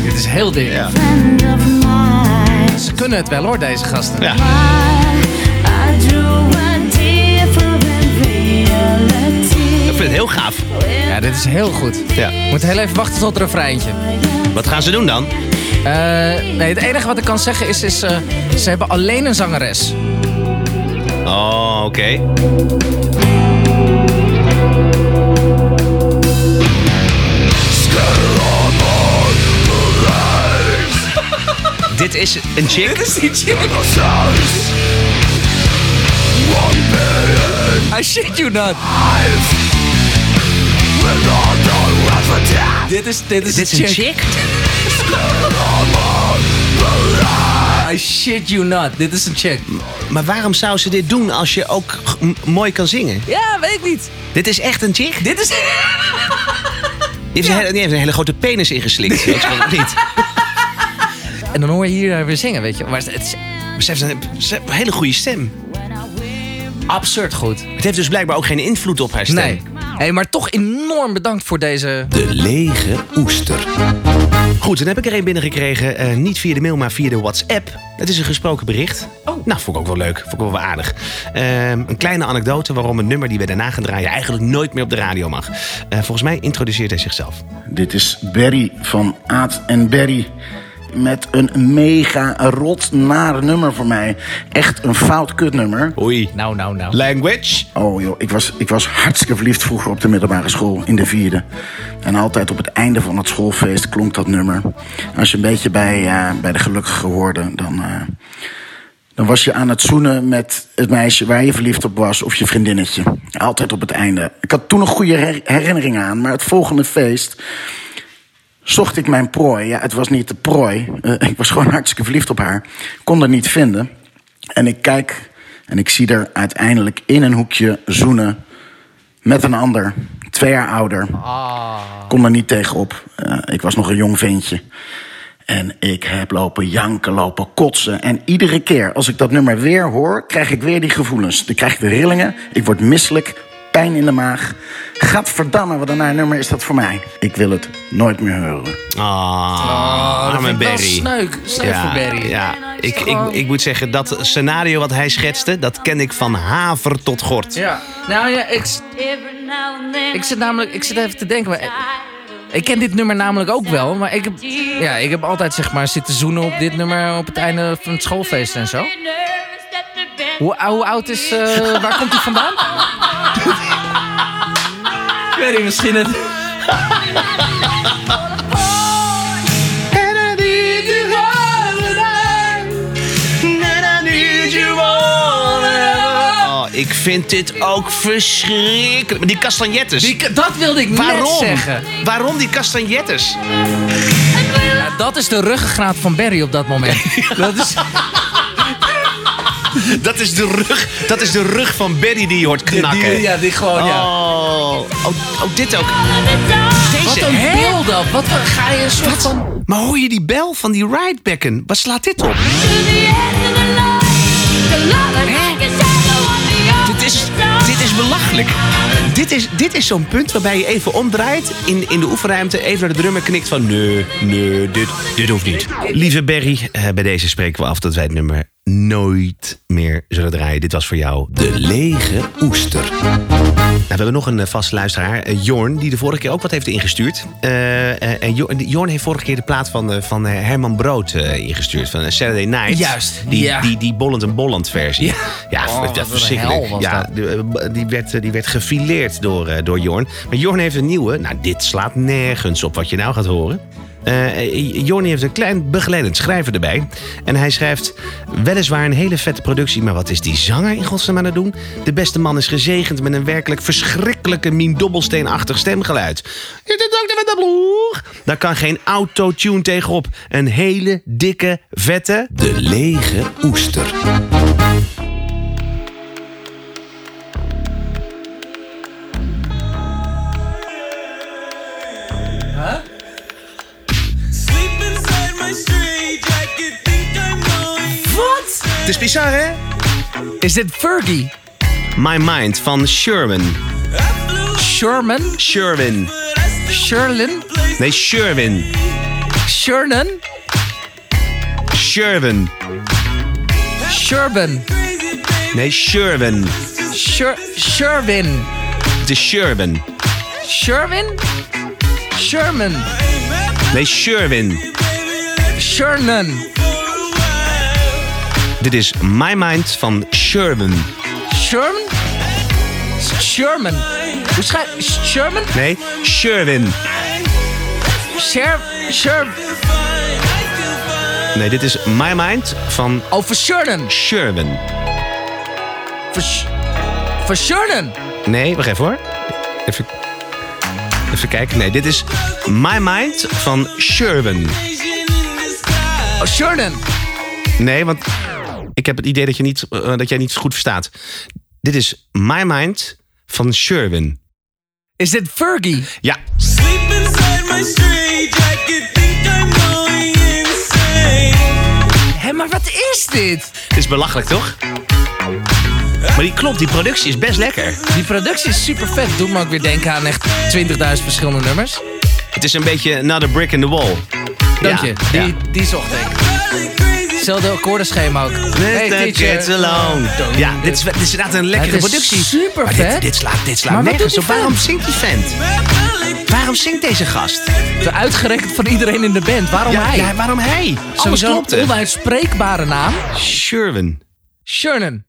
Speaker 3: Dit is heel dik.
Speaker 1: Ja.
Speaker 7: friend of mine.
Speaker 3: Ze kunnen het wel hoor, deze gasten.
Speaker 1: Ja.
Speaker 7: I drew a different
Speaker 1: Ik vind het
Speaker 7: reality.
Speaker 1: heel gaaf.
Speaker 3: Ja, dit is heel goed.
Speaker 1: Ja.
Speaker 3: Moet heel even wachten tot het refreintje.
Speaker 1: Wat gaan ze doen dan?
Speaker 3: Eh, nee, het enige wat ik kan zeggen is, is eh, ze hebben alleen een zangeres.
Speaker 1: Oh, oké. Dit is een chick.
Speaker 3: I shit you not. Dit is, dit is,
Speaker 1: Dit is een chick.
Speaker 3: I shit you not. Dit is een chick.
Speaker 1: Maar waarom zou ze dit doen als je ook g- m- mooi kan zingen?
Speaker 3: Ja, weet ik niet.
Speaker 1: Dit is echt een chick. Die
Speaker 3: Dit is...
Speaker 1: heeft, een, hele, die heeft een hele grote penis ingeslikt. Dat is wel niet.
Speaker 3: En dan hoor je hier haar weer zingen, weet je. Maar het is
Speaker 1: Maar Ze heeft, een, ze heeft een hele goede stem.
Speaker 3: absurd goed.
Speaker 1: Het heeft dus blijkbaar ook geen invloed op haar stem.
Speaker 3: Nee. Hey, maar toch enorm bedankt voor deze...
Speaker 2: De lege oester.
Speaker 1: Goed, dan heb ik er een binnengekregen. eh niet via de mail, maar via de WhatsApp. Het is een gesproken bericht. Oh. Nou, vond ik ook wel leuk. Vond ik ook wel aardig. Ehm, een kleine anekdote waarom een nummer die we daarna gaan draaien... eigenlijk nooit meer op de radio mag. Eh, volgens mij introduceert hij zichzelf.
Speaker 8: Dit is Barry van Aad en Berry. met een mega rot nare nummer voor mij. Echt een fout kutnummer.
Speaker 1: Oei.
Speaker 3: Nou, nou, nou.
Speaker 1: Language.
Speaker 8: Oh joh, ik was, ik was hartstikke verliefd vroeger op de middelbare school, in de vierde. En altijd op het einde van het schoolfeest klonk dat nummer. Als je een beetje bij, eh, bij de gelukkige hoorde, dan, eh, dan was je aan het zoenen met het meisje waar je verliefd op was of je vriendinnetje. Altijd op het einde. Ik had toen een goede her- herinnering aan, maar het volgende feest zocht ik mijn prooi. Ja, het was niet de prooi. Eh, ik was gewoon hartstikke verliefd op haar. Kon dat niet vinden. En ik kijk en ik zie er uiteindelijk in een hoekje zoenen met een ander. Twee jaar ouder. Kon er niet tegenop. Eh, ik was nog een jong ventje. En ik heb lopen janken, lopen kotsen. En iedere keer als ik dat nummer weer hoor, krijg ik weer die gevoelens. Dan krijg ik de rillingen, ik word misselijk, pijn in de maag. Gadverdamme, wat een naar nummer is dat voor mij. Ik wil het nooit meer horen.
Speaker 1: Ah,
Speaker 3: dat
Speaker 1: arme
Speaker 3: vind ik wel
Speaker 1: Barry.
Speaker 3: sneuk. Sneuk voor Barry.
Speaker 1: ja. Ik, ik, ik moet zeggen, dat scenario wat hij schetste, dat ken ik van haver tot gort.
Speaker 3: Ja. Nou ja, ik, ik zit namelijk ik zit even te denken. Maar eh, ik ken dit nummer namelijk ook wel. Maar ik heb, ja, ik heb altijd zeg maar, zitten zoenen op dit nummer op het einde van het schoolfeest en zo. Hoe, hoe oud is... eh, waar komt hij vandaan? ik weet niet, misschien het...
Speaker 1: Oh, ik vind dit ook verschrikkelijk. Maar die castagnettes.
Speaker 3: Die- dat wilde ik net
Speaker 1: waarom?
Speaker 3: zeggen.
Speaker 1: Waarom die castagnettes?
Speaker 3: Ja, dat is de ruggengraat van Barry op dat moment. Nou, dat is...
Speaker 1: Dat is de rug, dat is de rug van Barry die je hoort knakken.
Speaker 3: Die, ja, die gewoon, ja.
Speaker 1: Oh, oh, oh, dit ook. Deze.
Speaker 3: Wat een
Speaker 1: hè?
Speaker 3: beeld dat. Wat een- ga je een soort van...
Speaker 1: Maar hoor je die bel van die ridebacken? Wat slaat dit op? Dit is, dit is belachelijk. Dit is, dit is zo'n punt waarbij je even omdraait in, in de oefenruimte. Even naar de drummer knikt van nee, nee, dit, dit hoeft niet. Lieve Berry, eh, bij deze spreken we af dat wij het nummer nooit meer zullen draaien. Dit was voor jou de... Nou,
Speaker 2: Lege oester.
Speaker 1: we hebben nog een eh, vaste luisteraar, eh, Jorn, die de vorige keer ook wat heeft ingestuurd. Eh, eh, en Jorn, Jorn heeft vorige keer de plaat van, eh, van eh, Herman Brood eh, ingestuurd, van eh, Saturday Night.
Speaker 3: Juist,
Speaker 1: Die,
Speaker 3: ja.
Speaker 1: die, die Bollend en Bolland versie.
Speaker 3: Ja.
Speaker 1: Ja, dat
Speaker 3: Oh, wat
Speaker 1: is
Speaker 3: een
Speaker 1: verschrikkelijk.
Speaker 3: hel was
Speaker 1: ja,
Speaker 3: dat.
Speaker 1: de, eh, b- die, werd, eh, die werd gefileerd door, eh, door Jorn. Maar Jorn heeft een nieuwe. Nou, dit slaat nergens op wat je nou gaat horen. Eh, eh, Jorn heeft een klein begeleidend schrijver erbij. En hij schrijft... Weliswaar een hele vette productie, maar wat is die zanger in godsnaam aan het doen? De beste man is gezegend met een werkelijk verschrikkelijke... Mien Dobbelsteenachtig stemgeluid. Je doet ook de met de bloer. Daar kan geen autotune tegenop. Een hele dikke, vette...
Speaker 2: De lege oester.
Speaker 1: Het is bizar, hè?
Speaker 3: Is dit Fergie?
Speaker 1: My Mind van Sherman.
Speaker 3: Sherman?
Speaker 1: Sherwin.
Speaker 3: Sherlin?
Speaker 1: Nee, Sherwin.
Speaker 3: Shernan?
Speaker 1: Sherwin.
Speaker 3: Sherban?
Speaker 1: Nee, Sherwin.
Speaker 3: Sher Sherwin?
Speaker 1: Het is Sherwin.
Speaker 3: Sherwin? Sherman?
Speaker 1: Nee, Sherwin.
Speaker 3: Shernan?
Speaker 1: Dit is My Mind van Sherwin.
Speaker 3: Sherman? Sherman? Hoe schrijf Sherman?
Speaker 1: Nee, Sherwin.
Speaker 3: Sher... Sher...
Speaker 1: Nee, dit is My Mind van
Speaker 3: Oh, voor Shernan.
Speaker 1: Sherwin.
Speaker 3: Voor, Sh- voor Shernan.
Speaker 1: Nee, wacht even hoor. Even, even kijken. Nee, dit is My Mind van Sherwin.
Speaker 3: Oh, Shernan.
Speaker 1: Nee, want ik heb het idee dat, je niet, eh, dat jij niet goed verstaat. Dit is My Mind van Sherwin.
Speaker 3: Is dit Fergie?
Speaker 1: Ja,
Speaker 3: Hé, maar wat is dit?
Speaker 1: Het is belachelijk, toch? Maar die klopt, die productie is best lekker.
Speaker 3: Die productie is super vet. Doet me ook weer denken aan echt 20.000 verschillende nummers.
Speaker 1: Het is een beetje another brick in the wall.
Speaker 3: Dank je.
Speaker 1: Ja,
Speaker 3: Die, die zocht ik. Hetzelfde akkoordenschema ook.
Speaker 1: Let that kids alone. Ja, dit is, dit is inderdaad een lekkere
Speaker 3: Het is
Speaker 1: productie.
Speaker 3: super
Speaker 1: Maar dit,
Speaker 3: vet.
Speaker 1: dit slaat, dit slaat
Speaker 3: Maar wat
Speaker 1: nergens
Speaker 3: doet
Speaker 1: op.
Speaker 3: die
Speaker 1: Waarom
Speaker 3: vent?
Speaker 1: zingt die vent? waarom zingt deze gast?
Speaker 3: De uitgerekt van iedereen in de band. Waarom
Speaker 1: ja,
Speaker 3: hij?
Speaker 1: ja, waarom hij? Alles
Speaker 3: Sowieso
Speaker 1: klopt
Speaker 3: een
Speaker 1: er.
Speaker 3: onuitspreekbare naam.
Speaker 1: Sherwin.
Speaker 3: Shernan.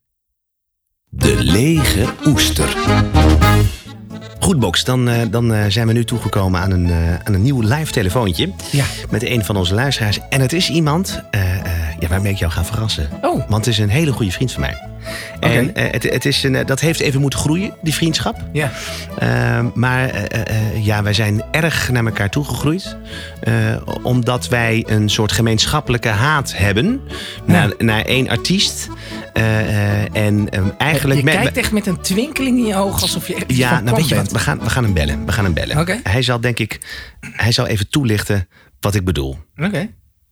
Speaker 2: De lege oester.
Speaker 1: Goed, Box, dan, eh, dan eh, zijn we nu toegekomen aan een, eh, aan een nieuw live telefoontje.
Speaker 3: Ja.
Speaker 1: Met een van onze luisteraars. En het is iemand eh, eh, ja, waarmee ik jou ga verrassen.
Speaker 3: Oh.
Speaker 1: Want het is een hele goede vriend van mij. En eh, het, het is een, eh, dat heeft even moeten groeien, die vriendschap.
Speaker 3: Ja.
Speaker 1: Eh, maar eh, eh, eh, ja, wij zijn erg naar elkaar toegegroeid. eh, omdat wij een soort gemeenschappelijke haat hebben naar, naar één artiest. Eh, eh, en eh, eigenlijk...
Speaker 3: Je
Speaker 1: met-
Speaker 3: kijkt echt met een twinkeling in je oog alsof je echt iets
Speaker 1: ja,
Speaker 3: van
Speaker 1: nou weet je
Speaker 3: plan
Speaker 1: wat, we gaan, we gaan hem bellen. We gaan hem bellen.
Speaker 3: Oké.
Speaker 1: Hij zal denk ik, hij zal even toelichten wat ik bedoel.
Speaker 3: bent. Oké.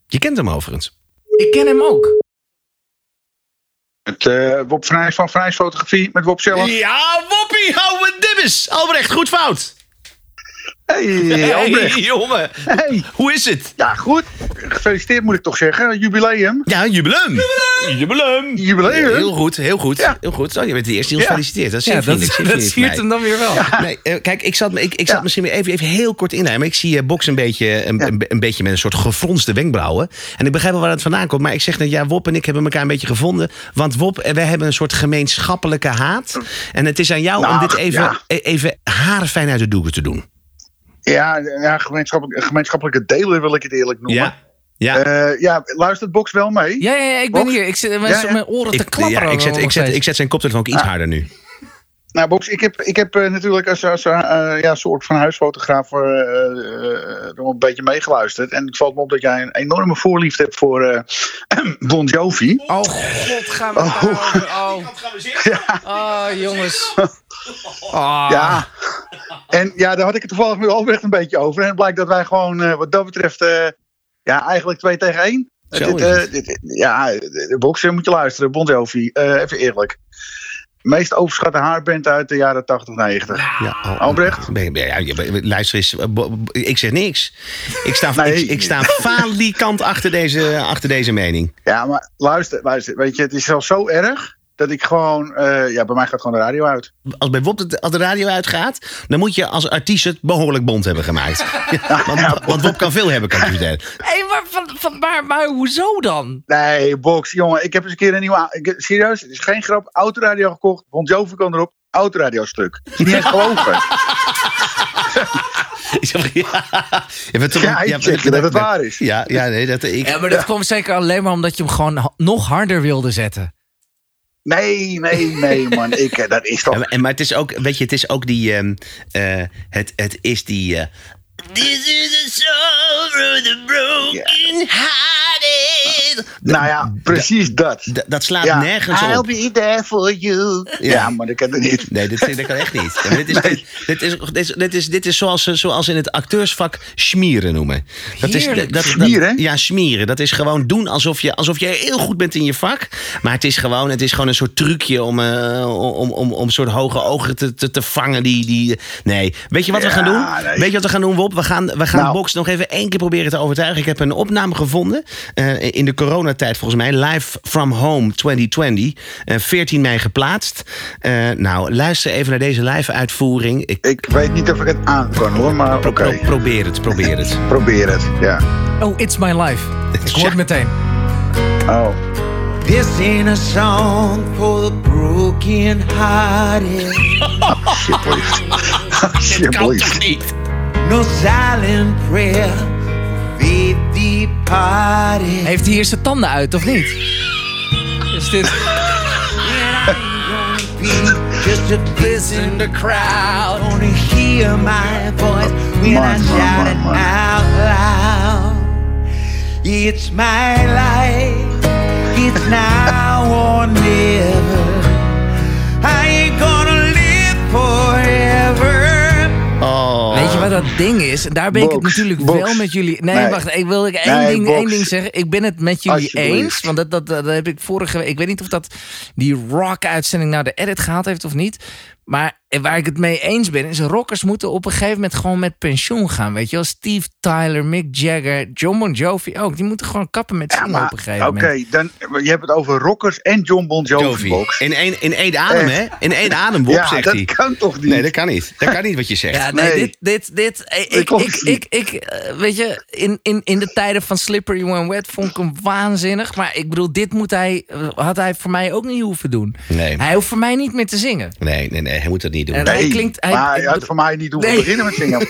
Speaker 1: Je kent hem overigens.
Speaker 3: Ik ken hem ook.
Speaker 9: Met eh, Wop Vrijs van Vrijs Fotografie, met Wop zelf.
Speaker 1: Ja, woppie, ouwe dibbes. Albrecht, goed fout.
Speaker 9: Hey, Albrecht.
Speaker 1: jongen.
Speaker 9: Hey.
Speaker 1: Hoe is het?
Speaker 9: Ja, goed. Gefeliciteerd moet ik toch zeggen. Jubileum.
Speaker 1: Ja, jubileum. Jubileum.
Speaker 9: Jubileum.
Speaker 1: Heel goed, heel goed.
Speaker 9: Ja.
Speaker 1: Heel goed. Oh, je bent de eerste die ons
Speaker 9: Ja.
Speaker 1: feliciteert. Dat is
Speaker 3: Ja,
Speaker 1: zeer
Speaker 3: dat,
Speaker 1: vriendelijk, zeer
Speaker 3: dat
Speaker 1: vriendelijk van
Speaker 3: siert hem dan weer
Speaker 1: mij.
Speaker 3: wel.
Speaker 1: Nee, eh, kijk, ik zat, ik, ik zat
Speaker 9: Ja.
Speaker 1: misschien weer even, even heel kort inleiden. Maar ik zie eh, Box een beetje, een, een, een beetje met een soort gefronste wenkbrauwen. En ik begrijp wel waar het vandaan komt. Maar ik zeg net, ja, Wop en ik hebben elkaar een beetje gevonden. Want Wop, eh, wij hebben een soort gemeenschappelijke haat. En het is aan jou om
Speaker 9: Nou,
Speaker 1: dit even,
Speaker 9: ja.
Speaker 1: eh, even haarfijn uit de doeken te doen.
Speaker 9: Ja, ja gemeenschappelijk, gemeenschappelijke delen wil ik het eerlijk noemen.
Speaker 1: Ja. Ja.
Speaker 9: Eh, ja, luistert Box wel mee?
Speaker 3: Ja, ja, ja, ik ben
Speaker 9: Box?
Speaker 3: hier. Ik zit
Speaker 9: Ja, ja.
Speaker 3: met mijn oren te
Speaker 1: Ik,
Speaker 3: klapperen.
Speaker 1: ja, ik, zet,
Speaker 3: nog
Speaker 1: ik, zet,
Speaker 3: steeds.
Speaker 1: ik zet zijn koptelefoon ook iets
Speaker 9: Ah.
Speaker 1: harder nu.
Speaker 9: Nou, Box, ik heb, ik heb eh, natuurlijk als, als eh, eh, ja, soort van huisfotograaf eh, eh, nog een beetje meegeluisterd. En het valt me op dat jij een enorme voorliefde hebt voor eh Bon Jovi.
Speaker 3: Oh god, gaan we
Speaker 9: Oh.
Speaker 3: daarover. Oh. oh, jongens. Oh.
Speaker 1: Ah.
Speaker 9: Ja. En ja, daar had ik het toevallig met Albrecht een beetje over. En het blijkt dat wij gewoon, eh, wat dat betreft, eh, ja, eigenlijk twee tegen één.
Speaker 1: Zo
Speaker 9: Dit,
Speaker 1: is
Speaker 9: eh,
Speaker 1: het.
Speaker 9: dit- ja, de boksen moet je luisteren, Bon Jovi. Eh, even eerlijk. Meest overschatte haarband uit de jaren 80, 90.
Speaker 1: Ja, oh,
Speaker 9: Ah, Albrecht?
Speaker 1: ben je- ben je- ja, je- ben- luister eens, eh, bo- bo- ik zeg niks. Ik sta,
Speaker 9: Nee.
Speaker 1: ik, ik sta falikant achter deze, achter deze mening.
Speaker 9: Ja, maar luister, luister. Weet je, het is zelfs zo erg dat ik gewoon, eh, ja, bij mij gaat gewoon de radio uit.
Speaker 1: Als bij Wop de, als de radio uitgaat, dan moet je als artiest het behoorlijk bond hebben gemaakt. Ja, want, want Wop kan veel hebben, kan ik je vertellen.
Speaker 3: Hey, maar, van, van, maar, maar hoezo dan?
Speaker 9: Nee, box, jongen, ik heb eens een keer een nieuwe. a- ik- serieus, het is geen grap. Autoradio gekocht, Bon Jovi kan erop. Autoradio stuk. Is niet eens geloven.
Speaker 1: Ik zeg, Ja, je bent toch-
Speaker 9: Ja, ik zeg je dat het waar is.
Speaker 1: Ja, ja nee, dat, ik,
Speaker 3: Ja, maar dat kwam zeker alleen maar omdat je hem gewoon ha- nog harder wilde zetten.
Speaker 9: Nee, nee, nee, man. Ik, eh, dat is
Speaker 1: Ja,
Speaker 9: toch.
Speaker 1: maar- en, maar het is ook, weet je, het is ook die. ehm, eh, het, het is die. eh, This is the soul of the broken hearted.
Speaker 9: Nou ja, precies dat.
Speaker 1: D- dat slaat
Speaker 9: Ja. Ah,
Speaker 1: nergens
Speaker 9: I'll
Speaker 1: op.
Speaker 9: be there for you. Ja, maar dat kan het niet.
Speaker 1: Nee, dit, dat kan echt niet. Ja, maar dit, is,
Speaker 9: Nee.
Speaker 1: dit, dit is, dit is, dit is, dit is zoals, ze- zoals ze in het acteursvak schmieren noemen. Dat is,
Speaker 3: Heerlijk.
Speaker 9: Schmieren?
Speaker 1: ja, schmieren. Dat is gewoon doen alsof je, alsof je heel goed bent in je vak. Maar het is gewoon, het is gewoon een soort trucje om, eh, om, om, om een soort hoge ogen te, te, te vangen. Die, die, nee. Weet je wat we
Speaker 9: Ja,
Speaker 1: gaan doen?
Speaker 9: nee.
Speaker 1: Weet je wat we gaan doen, Wop? We gaan, we gaan
Speaker 9: Nou.
Speaker 1: Box nog even één keer proberen te overtuigen. Ik heb een opname gevonden eh, in de coronatijd volgens mij. Live from home 2020. eh 14 mei geplaatst. Eh, nou, luister even naar deze live uitvoering. Ik,
Speaker 9: Ik weet niet of ik het aan kan hoor, maar
Speaker 1: pro-
Speaker 9: oké.
Speaker 1: pro- probeer het, probeer het.
Speaker 9: Probeer het, ja.
Speaker 3: Oh, it's my life. Ik hoor
Speaker 1: Ja.
Speaker 3: het meteen.
Speaker 9: Oh.
Speaker 2: This ain't a song for the broken hearted.
Speaker 9: Oh, Alsjeblieft. Oh, Alsjeblieft.
Speaker 2: No silent prayer for faith departed.
Speaker 3: Heeft hij hier zijn tanden uit, of niet? Is dit...
Speaker 2: Just a bliss in the crowd. Only hear my voice when I
Speaker 9: Man, man,
Speaker 2: shout
Speaker 9: man,
Speaker 2: it
Speaker 9: man.
Speaker 2: out loud. It's my life. It's now or never. I ain't gonna live forever.
Speaker 1: Oh.
Speaker 3: Weet je wat dat ding is? Daar ben ik het
Speaker 9: Box,
Speaker 3: natuurlijk
Speaker 9: box.
Speaker 3: wel met jullie. Nee,
Speaker 9: Nee.
Speaker 3: wacht. Ik wil ik één,
Speaker 9: Nee,
Speaker 3: ding,
Speaker 9: box.
Speaker 3: één ding zeggen. Ik ben het met jullie
Speaker 9: Alsjeblieft.
Speaker 3: eens. Want dat, dat, dat heb ik vorige week. Ik weet niet of dat die rock-uitzending nou de edit gehaald heeft of niet. Maar waar ik het mee eens ben, is rockers moeten op een gegeven moment gewoon met pensioen gaan. Weet je wel, Steve Tyler, Mick Jagger, John Bon Jovi ook. Die moeten gewoon kappen met zingen op een
Speaker 9: Oké,
Speaker 3: gegeven moment.
Speaker 9: dan je hebt het over rockers en John Bon Jovi.
Speaker 1: Jovi.
Speaker 9: Box.
Speaker 1: In één, in één adem, hè? In één adem, Bob,
Speaker 9: ja,
Speaker 1: zegt
Speaker 9: dat
Speaker 1: hij.
Speaker 9: kan toch niet?
Speaker 1: Nee, dat kan niet. Dat kan niet wat je zegt.
Speaker 3: Ja, nee,
Speaker 9: Nee.
Speaker 3: dit, dit, dit. eh, Ik,
Speaker 9: klopt
Speaker 3: ik, ik,
Speaker 9: niet.
Speaker 3: ik, eh, weet je, in, in, in de tijden van Slippery When Wet vond ik hem waanzinnig. Maar ik bedoel, dit moet hij, eh, had hij voor mij ook niet hoeven doen.
Speaker 1: Nee.
Speaker 3: Hij hoeft voor mij niet meer te zingen.
Speaker 1: Nee, nee, nee, hij moet dat niet doen.
Speaker 3: En-
Speaker 9: Nee,
Speaker 3: Hij klinkt- hij-
Speaker 9: maar
Speaker 3: ik
Speaker 9: hij had
Speaker 3: bedoel-
Speaker 9: voor mij niet hoeven
Speaker 3: Nee.
Speaker 9: beginnen met zingen.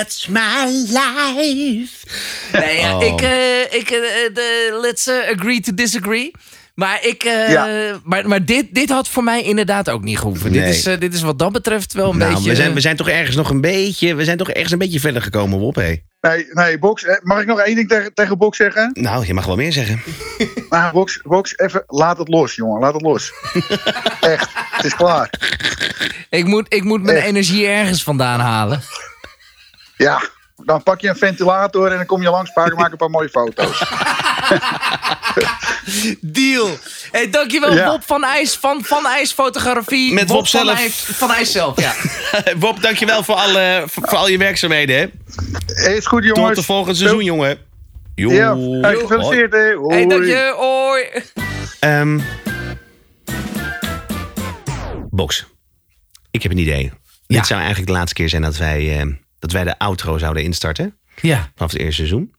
Speaker 1: It's my life.
Speaker 3: Nee, ja,
Speaker 1: Oh.
Speaker 3: ik, eh, ik, eh, de- let's eh, agree to disagree. Maar, ik, eh,
Speaker 9: Ja.
Speaker 3: maar, maar dit, dit had voor mij inderdaad ook niet gehoeven.
Speaker 1: Nee.
Speaker 3: Dit, is, eh, dit is wat dat betreft wel een
Speaker 1: Nou,
Speaker 3: beetje...
Speaker 1: we,
Speaker 9: eh,
Speaker 1: zijn, we zijn toch ergens nog een beetje... We zijn toch ergens een beetje verder gekomen, Bob, hé?
Speaker 9: Nee, nee, Box, eh, mag ik nog één ding tegen, tegen Box zeggen?
Speaker 1: Nou, je mag wel meer zeggen.
Speaker 9: Nou, Box, Box, even, laat het los, jongen, laat het los. Echt, het is klaar.
Speaker 3: eh, ik, moet, ik moet mijn
Speaker 9: Echt.
Speaker 3: energie ergens vandaan halen.
Speaker 9: Ja, dan pak je een ventilator en dan kom je langs, maak maak een paar mooie foto's.
Speaker 3: Deal. Hey, dankjewel
Speaker 9: Ja.
Speaker 3: Bob van IJs van Van IJs Fotografie.
Speaker 1: Met Bob
Speaker 3: van
Speaker 1: zelf.
Speaker 3: IJs, van IJs zelf, ja.
Speaker 1: Bob, dankjewel voor, alle, voor, voor al je werkzaamheden, hè?
Speaker 9: Is goed, jongens.
Speaker 1: Tot de volgende seizoen, jongen. Joe.
Speaker 9: Ja, hey, gefeliciteerd, hè. Hoi.
Speaker 3: Hey, dank je. Hoi.
Speaker 1: Ehm, Box. Ik heb een idee.
Speaker 3: Ja.
Speaker 1: Dit zou eigenlijk de laatste keer zijn dat wij, ehm, dat wij de outro zouden instarten.
Speaker 3: Ja.
Speaker 1: Vanaf het eerste seizoen.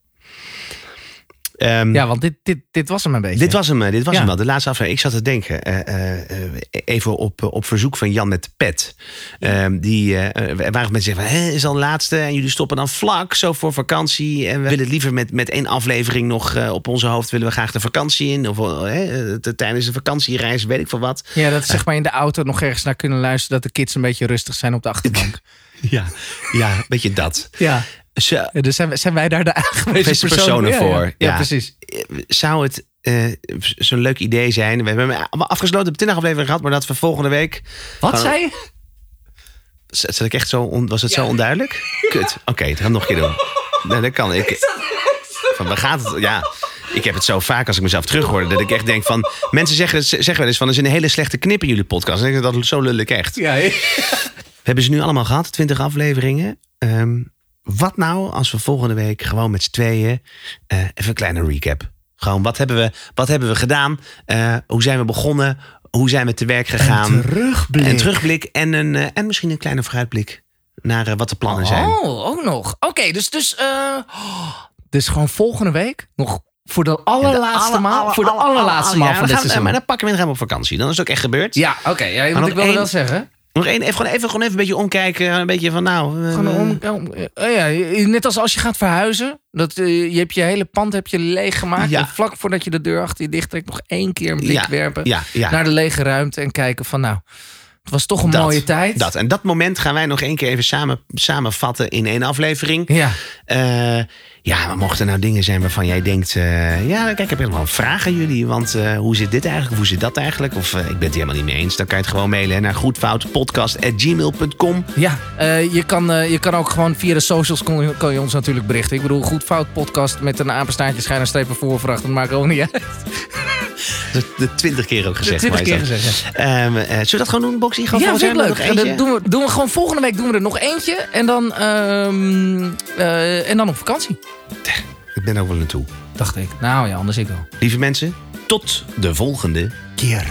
Speaker 1: Ehm,
Speaker 3: ja, want dit, dit, dit was hem een beetje.
Speaker 1: Dit was hem, eh, dit was
Speaker 3: Ja.
Speaker 1: hem wel. De laatste aflevering. Ik zat te denken, eh, eh, eh, even op, eh, op verzoek van Jan met de pet. Ehm, die, eh, eh, er waren mensen die zeggen van, Hè, is al de laatste en jullie stoppen dan vlak zo voor vakantie. En we willen het liever met, met één aflevering nog eh, op onze hoofd. Willen we graag de vakantie in. Of eh, eh, t- tijdens de vakantiereis, weet ik veel wat.
Speaker 3: Ja, dat zeg maar in de auto nog ergens naar kunnen luisteren... dat de kids een beetje rustig zijn op de achterbank.
Speaker 1: Ja, ja weet je dat.
Speaker 3: ja.
Speaker 1: Zo-
Speaker 3: Ja, Dus zijn, wij- zijn wij daar de aangewezen
Speaker 1: Wees de
Speaker 3: personen,
Speaker 1: personen
Speaker 3: Ja,
Speaker 1: voor,
Speaker 3: Ja, Ja,
Speaker 1: ja.
Speaker 3: precies.
Speaker 1: zou het eh, zo'n leuk idee zijn? We hebben hem allemaal afgesloten, op 20 afleveringen gehad. Maar dat we volgende week...
Speaker 3: Wat
Speaker 1: Gewoon-
Speaker 3: zei je?
Speaker 1: Z- Zat ik echt zo on- was het zo onduidelijk? Kut. Oké, dat gaan we nog een keer doen. Nee, dat kan. Ik, van, waar gaat het? Ja, ik heb het zo vaak als ik mezelf terughoor. Dat ik echt denk van... Mensen zeggen, z- zeggen wel eens van... Er is een hele slechte knip in jullie podcast. En ik denk, dat is zo lullig echt.
Speaker 3: Ja,
Speaker 1: We hebben ze nu allemaal gehad, 20 afleveringen. Ehm, wat nou als we volgende week gewoon met z'n tweeën eh, even een kleine recap. Gewoon, wat hebben we, wat hebben we gedaan? Eh, hoe zijn we begonnen? Hoe zijn we te werk gegaan? Een terugblik. Een terugblik en, een, eh, en misschien een kleine vooruitblik naar eh, wat de plannen zijn.
Speaker 3: Oh, ook nog. Oké, dus, dus, eh, oh, dus gewoon volgende week nog voor de allerlaatste
Speaker 1: Alle-
Speaker 3: maal.
Speaker 1: alle-
Speaker 3: Voor de
Speaker 1: alle-
Speaker 3: allerlaatste
Speaker 1: alle-
Speaker 3: maal
Speaker 1: ja,
Speaker 3: van
Speaker 1: dan
Speaker 3: dit
Speaker 1: gaan we- Maar
Speaker 3: seizoen.
Speaker 1: dan pakken we en gaan we op vakantie. Dan is het ook echt gebeurd.
Speaker 3: Ja, oké. Ja, want
Speaker 1: nog
Speaker 3: ik wilde
Speaker 1: één-
Speaker 3: wel zeggen.
Speaker 1: Nog één, even, gewoon even, gewoon even een beetje omkijken. Een beetje van nou... eh,
Speaker 3: Gewoon om, om- eh, ja, je- net als als je gaat verhuizen. Dat, eh, je hebt je hele pand heb je leeggemaakt.
Speaker 1: Ja.
Speaker 3: En vlak voordat je de deur achter je dicht trekt... nog één keer een blik
Speaker 1: Ja,
Speaker 3: werpen
Speaker 1: ja, ja.
Speaker 3: naar de lege ruimte... en kijken van nou, het was toch een
Speaker 1: Dat,
Speaker 3: mooie tijd.
Speaker 1: Dat. En dat moment gaan wij nog één keer even samen, samenvatten in één aflevering.
Speaker 3: Ja.
Speaker 1: Eh, ja, maar mochten er nou dingen zijn waarvan jij denkt... eh, ja, kijk, ik heb helemaal een vraag aan jullie. Want eh, hoe zit dit eigenlijk? Of hoe zit dat eigenlijk? Of eh, ik ben het helemaal niet mee eens. Dan kan je het gewoon mailen hè, naar goedfoutpodcast.gmail.com.
Speaker 3: Ja, eh, je, kan, eh, je kan ook gewoon via de socials kon, je- kan je ons natuurlijk berichten. Ik bedoel, goed fout podcast met een apenstaartje schijn en strepen voorvracht. Dat maakt ook niet uit.
Speaker 1: Dat de twintig keer ook gezegd.
Speaker 3: Twintig
Speaker 1: maar
Speaker 3: keer
Speaker 1: is dat.
Speaker 3: gezegd.
Speaker 1: Ehm, eh, zullen we dat gewoon doen, Boxy? Gewoon
Speaker 3: Ja,
Speaker 1: volgens
Speaker 3: vind ik
Speaker 1: mij
Speaker 3: leuk.
Speaker 1: nog
Speaker 3: En
Speaker 1: eentje?
Speaker 3: dan doen we, doen we gewoon volgende week doen we er nog eentje. En dan, ehm, eh, en dan op vakantie.
Speaker 1: Ik ben ook wel naartoe.
Speaker 3: Dacht ik. Nou ja, anders ik wel.
Speaker 1: Lieve mensen, tot de volgende keer.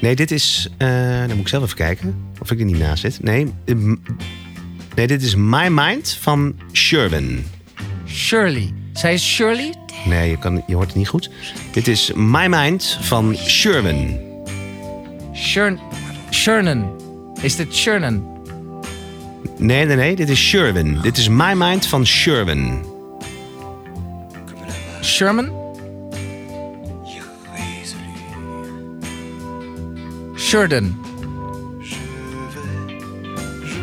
Speaker 1: Nee, dit is. eh dan moet ik zelf even kijken of ik er niet naast zit. Nee, eh, m- nee dit is My Mind van Sherwin.
Speaker 3: Shirley. Zij is Shirley.
Speaker 1: Nee, je, kan, je hoort het niet goed. Dit is My Mind van Sherwin.
Speaker 3: Shern, Shernan. Is dit Shernan?
Speaker 1: Nee, nee, nee, dit is Sherwin. Dit is My Mind van Sherwin.
Speaker 3: Sherman? Sheridan.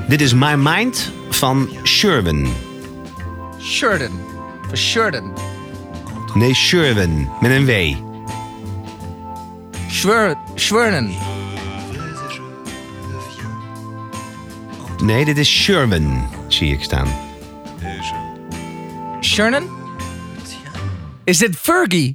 Speaker 1: Dit is My Mind van Sherwin.
Speaker 3: Sheridan. Van Sheridan.
Speaker 1: Nee, Sherwin met een W.
Speaker 3: Schwer, Schwernen.
Speaker 1: Nee, dit is Sherwin, zie ik staan.
Speaker 3: Shernan? Is dit Fergie?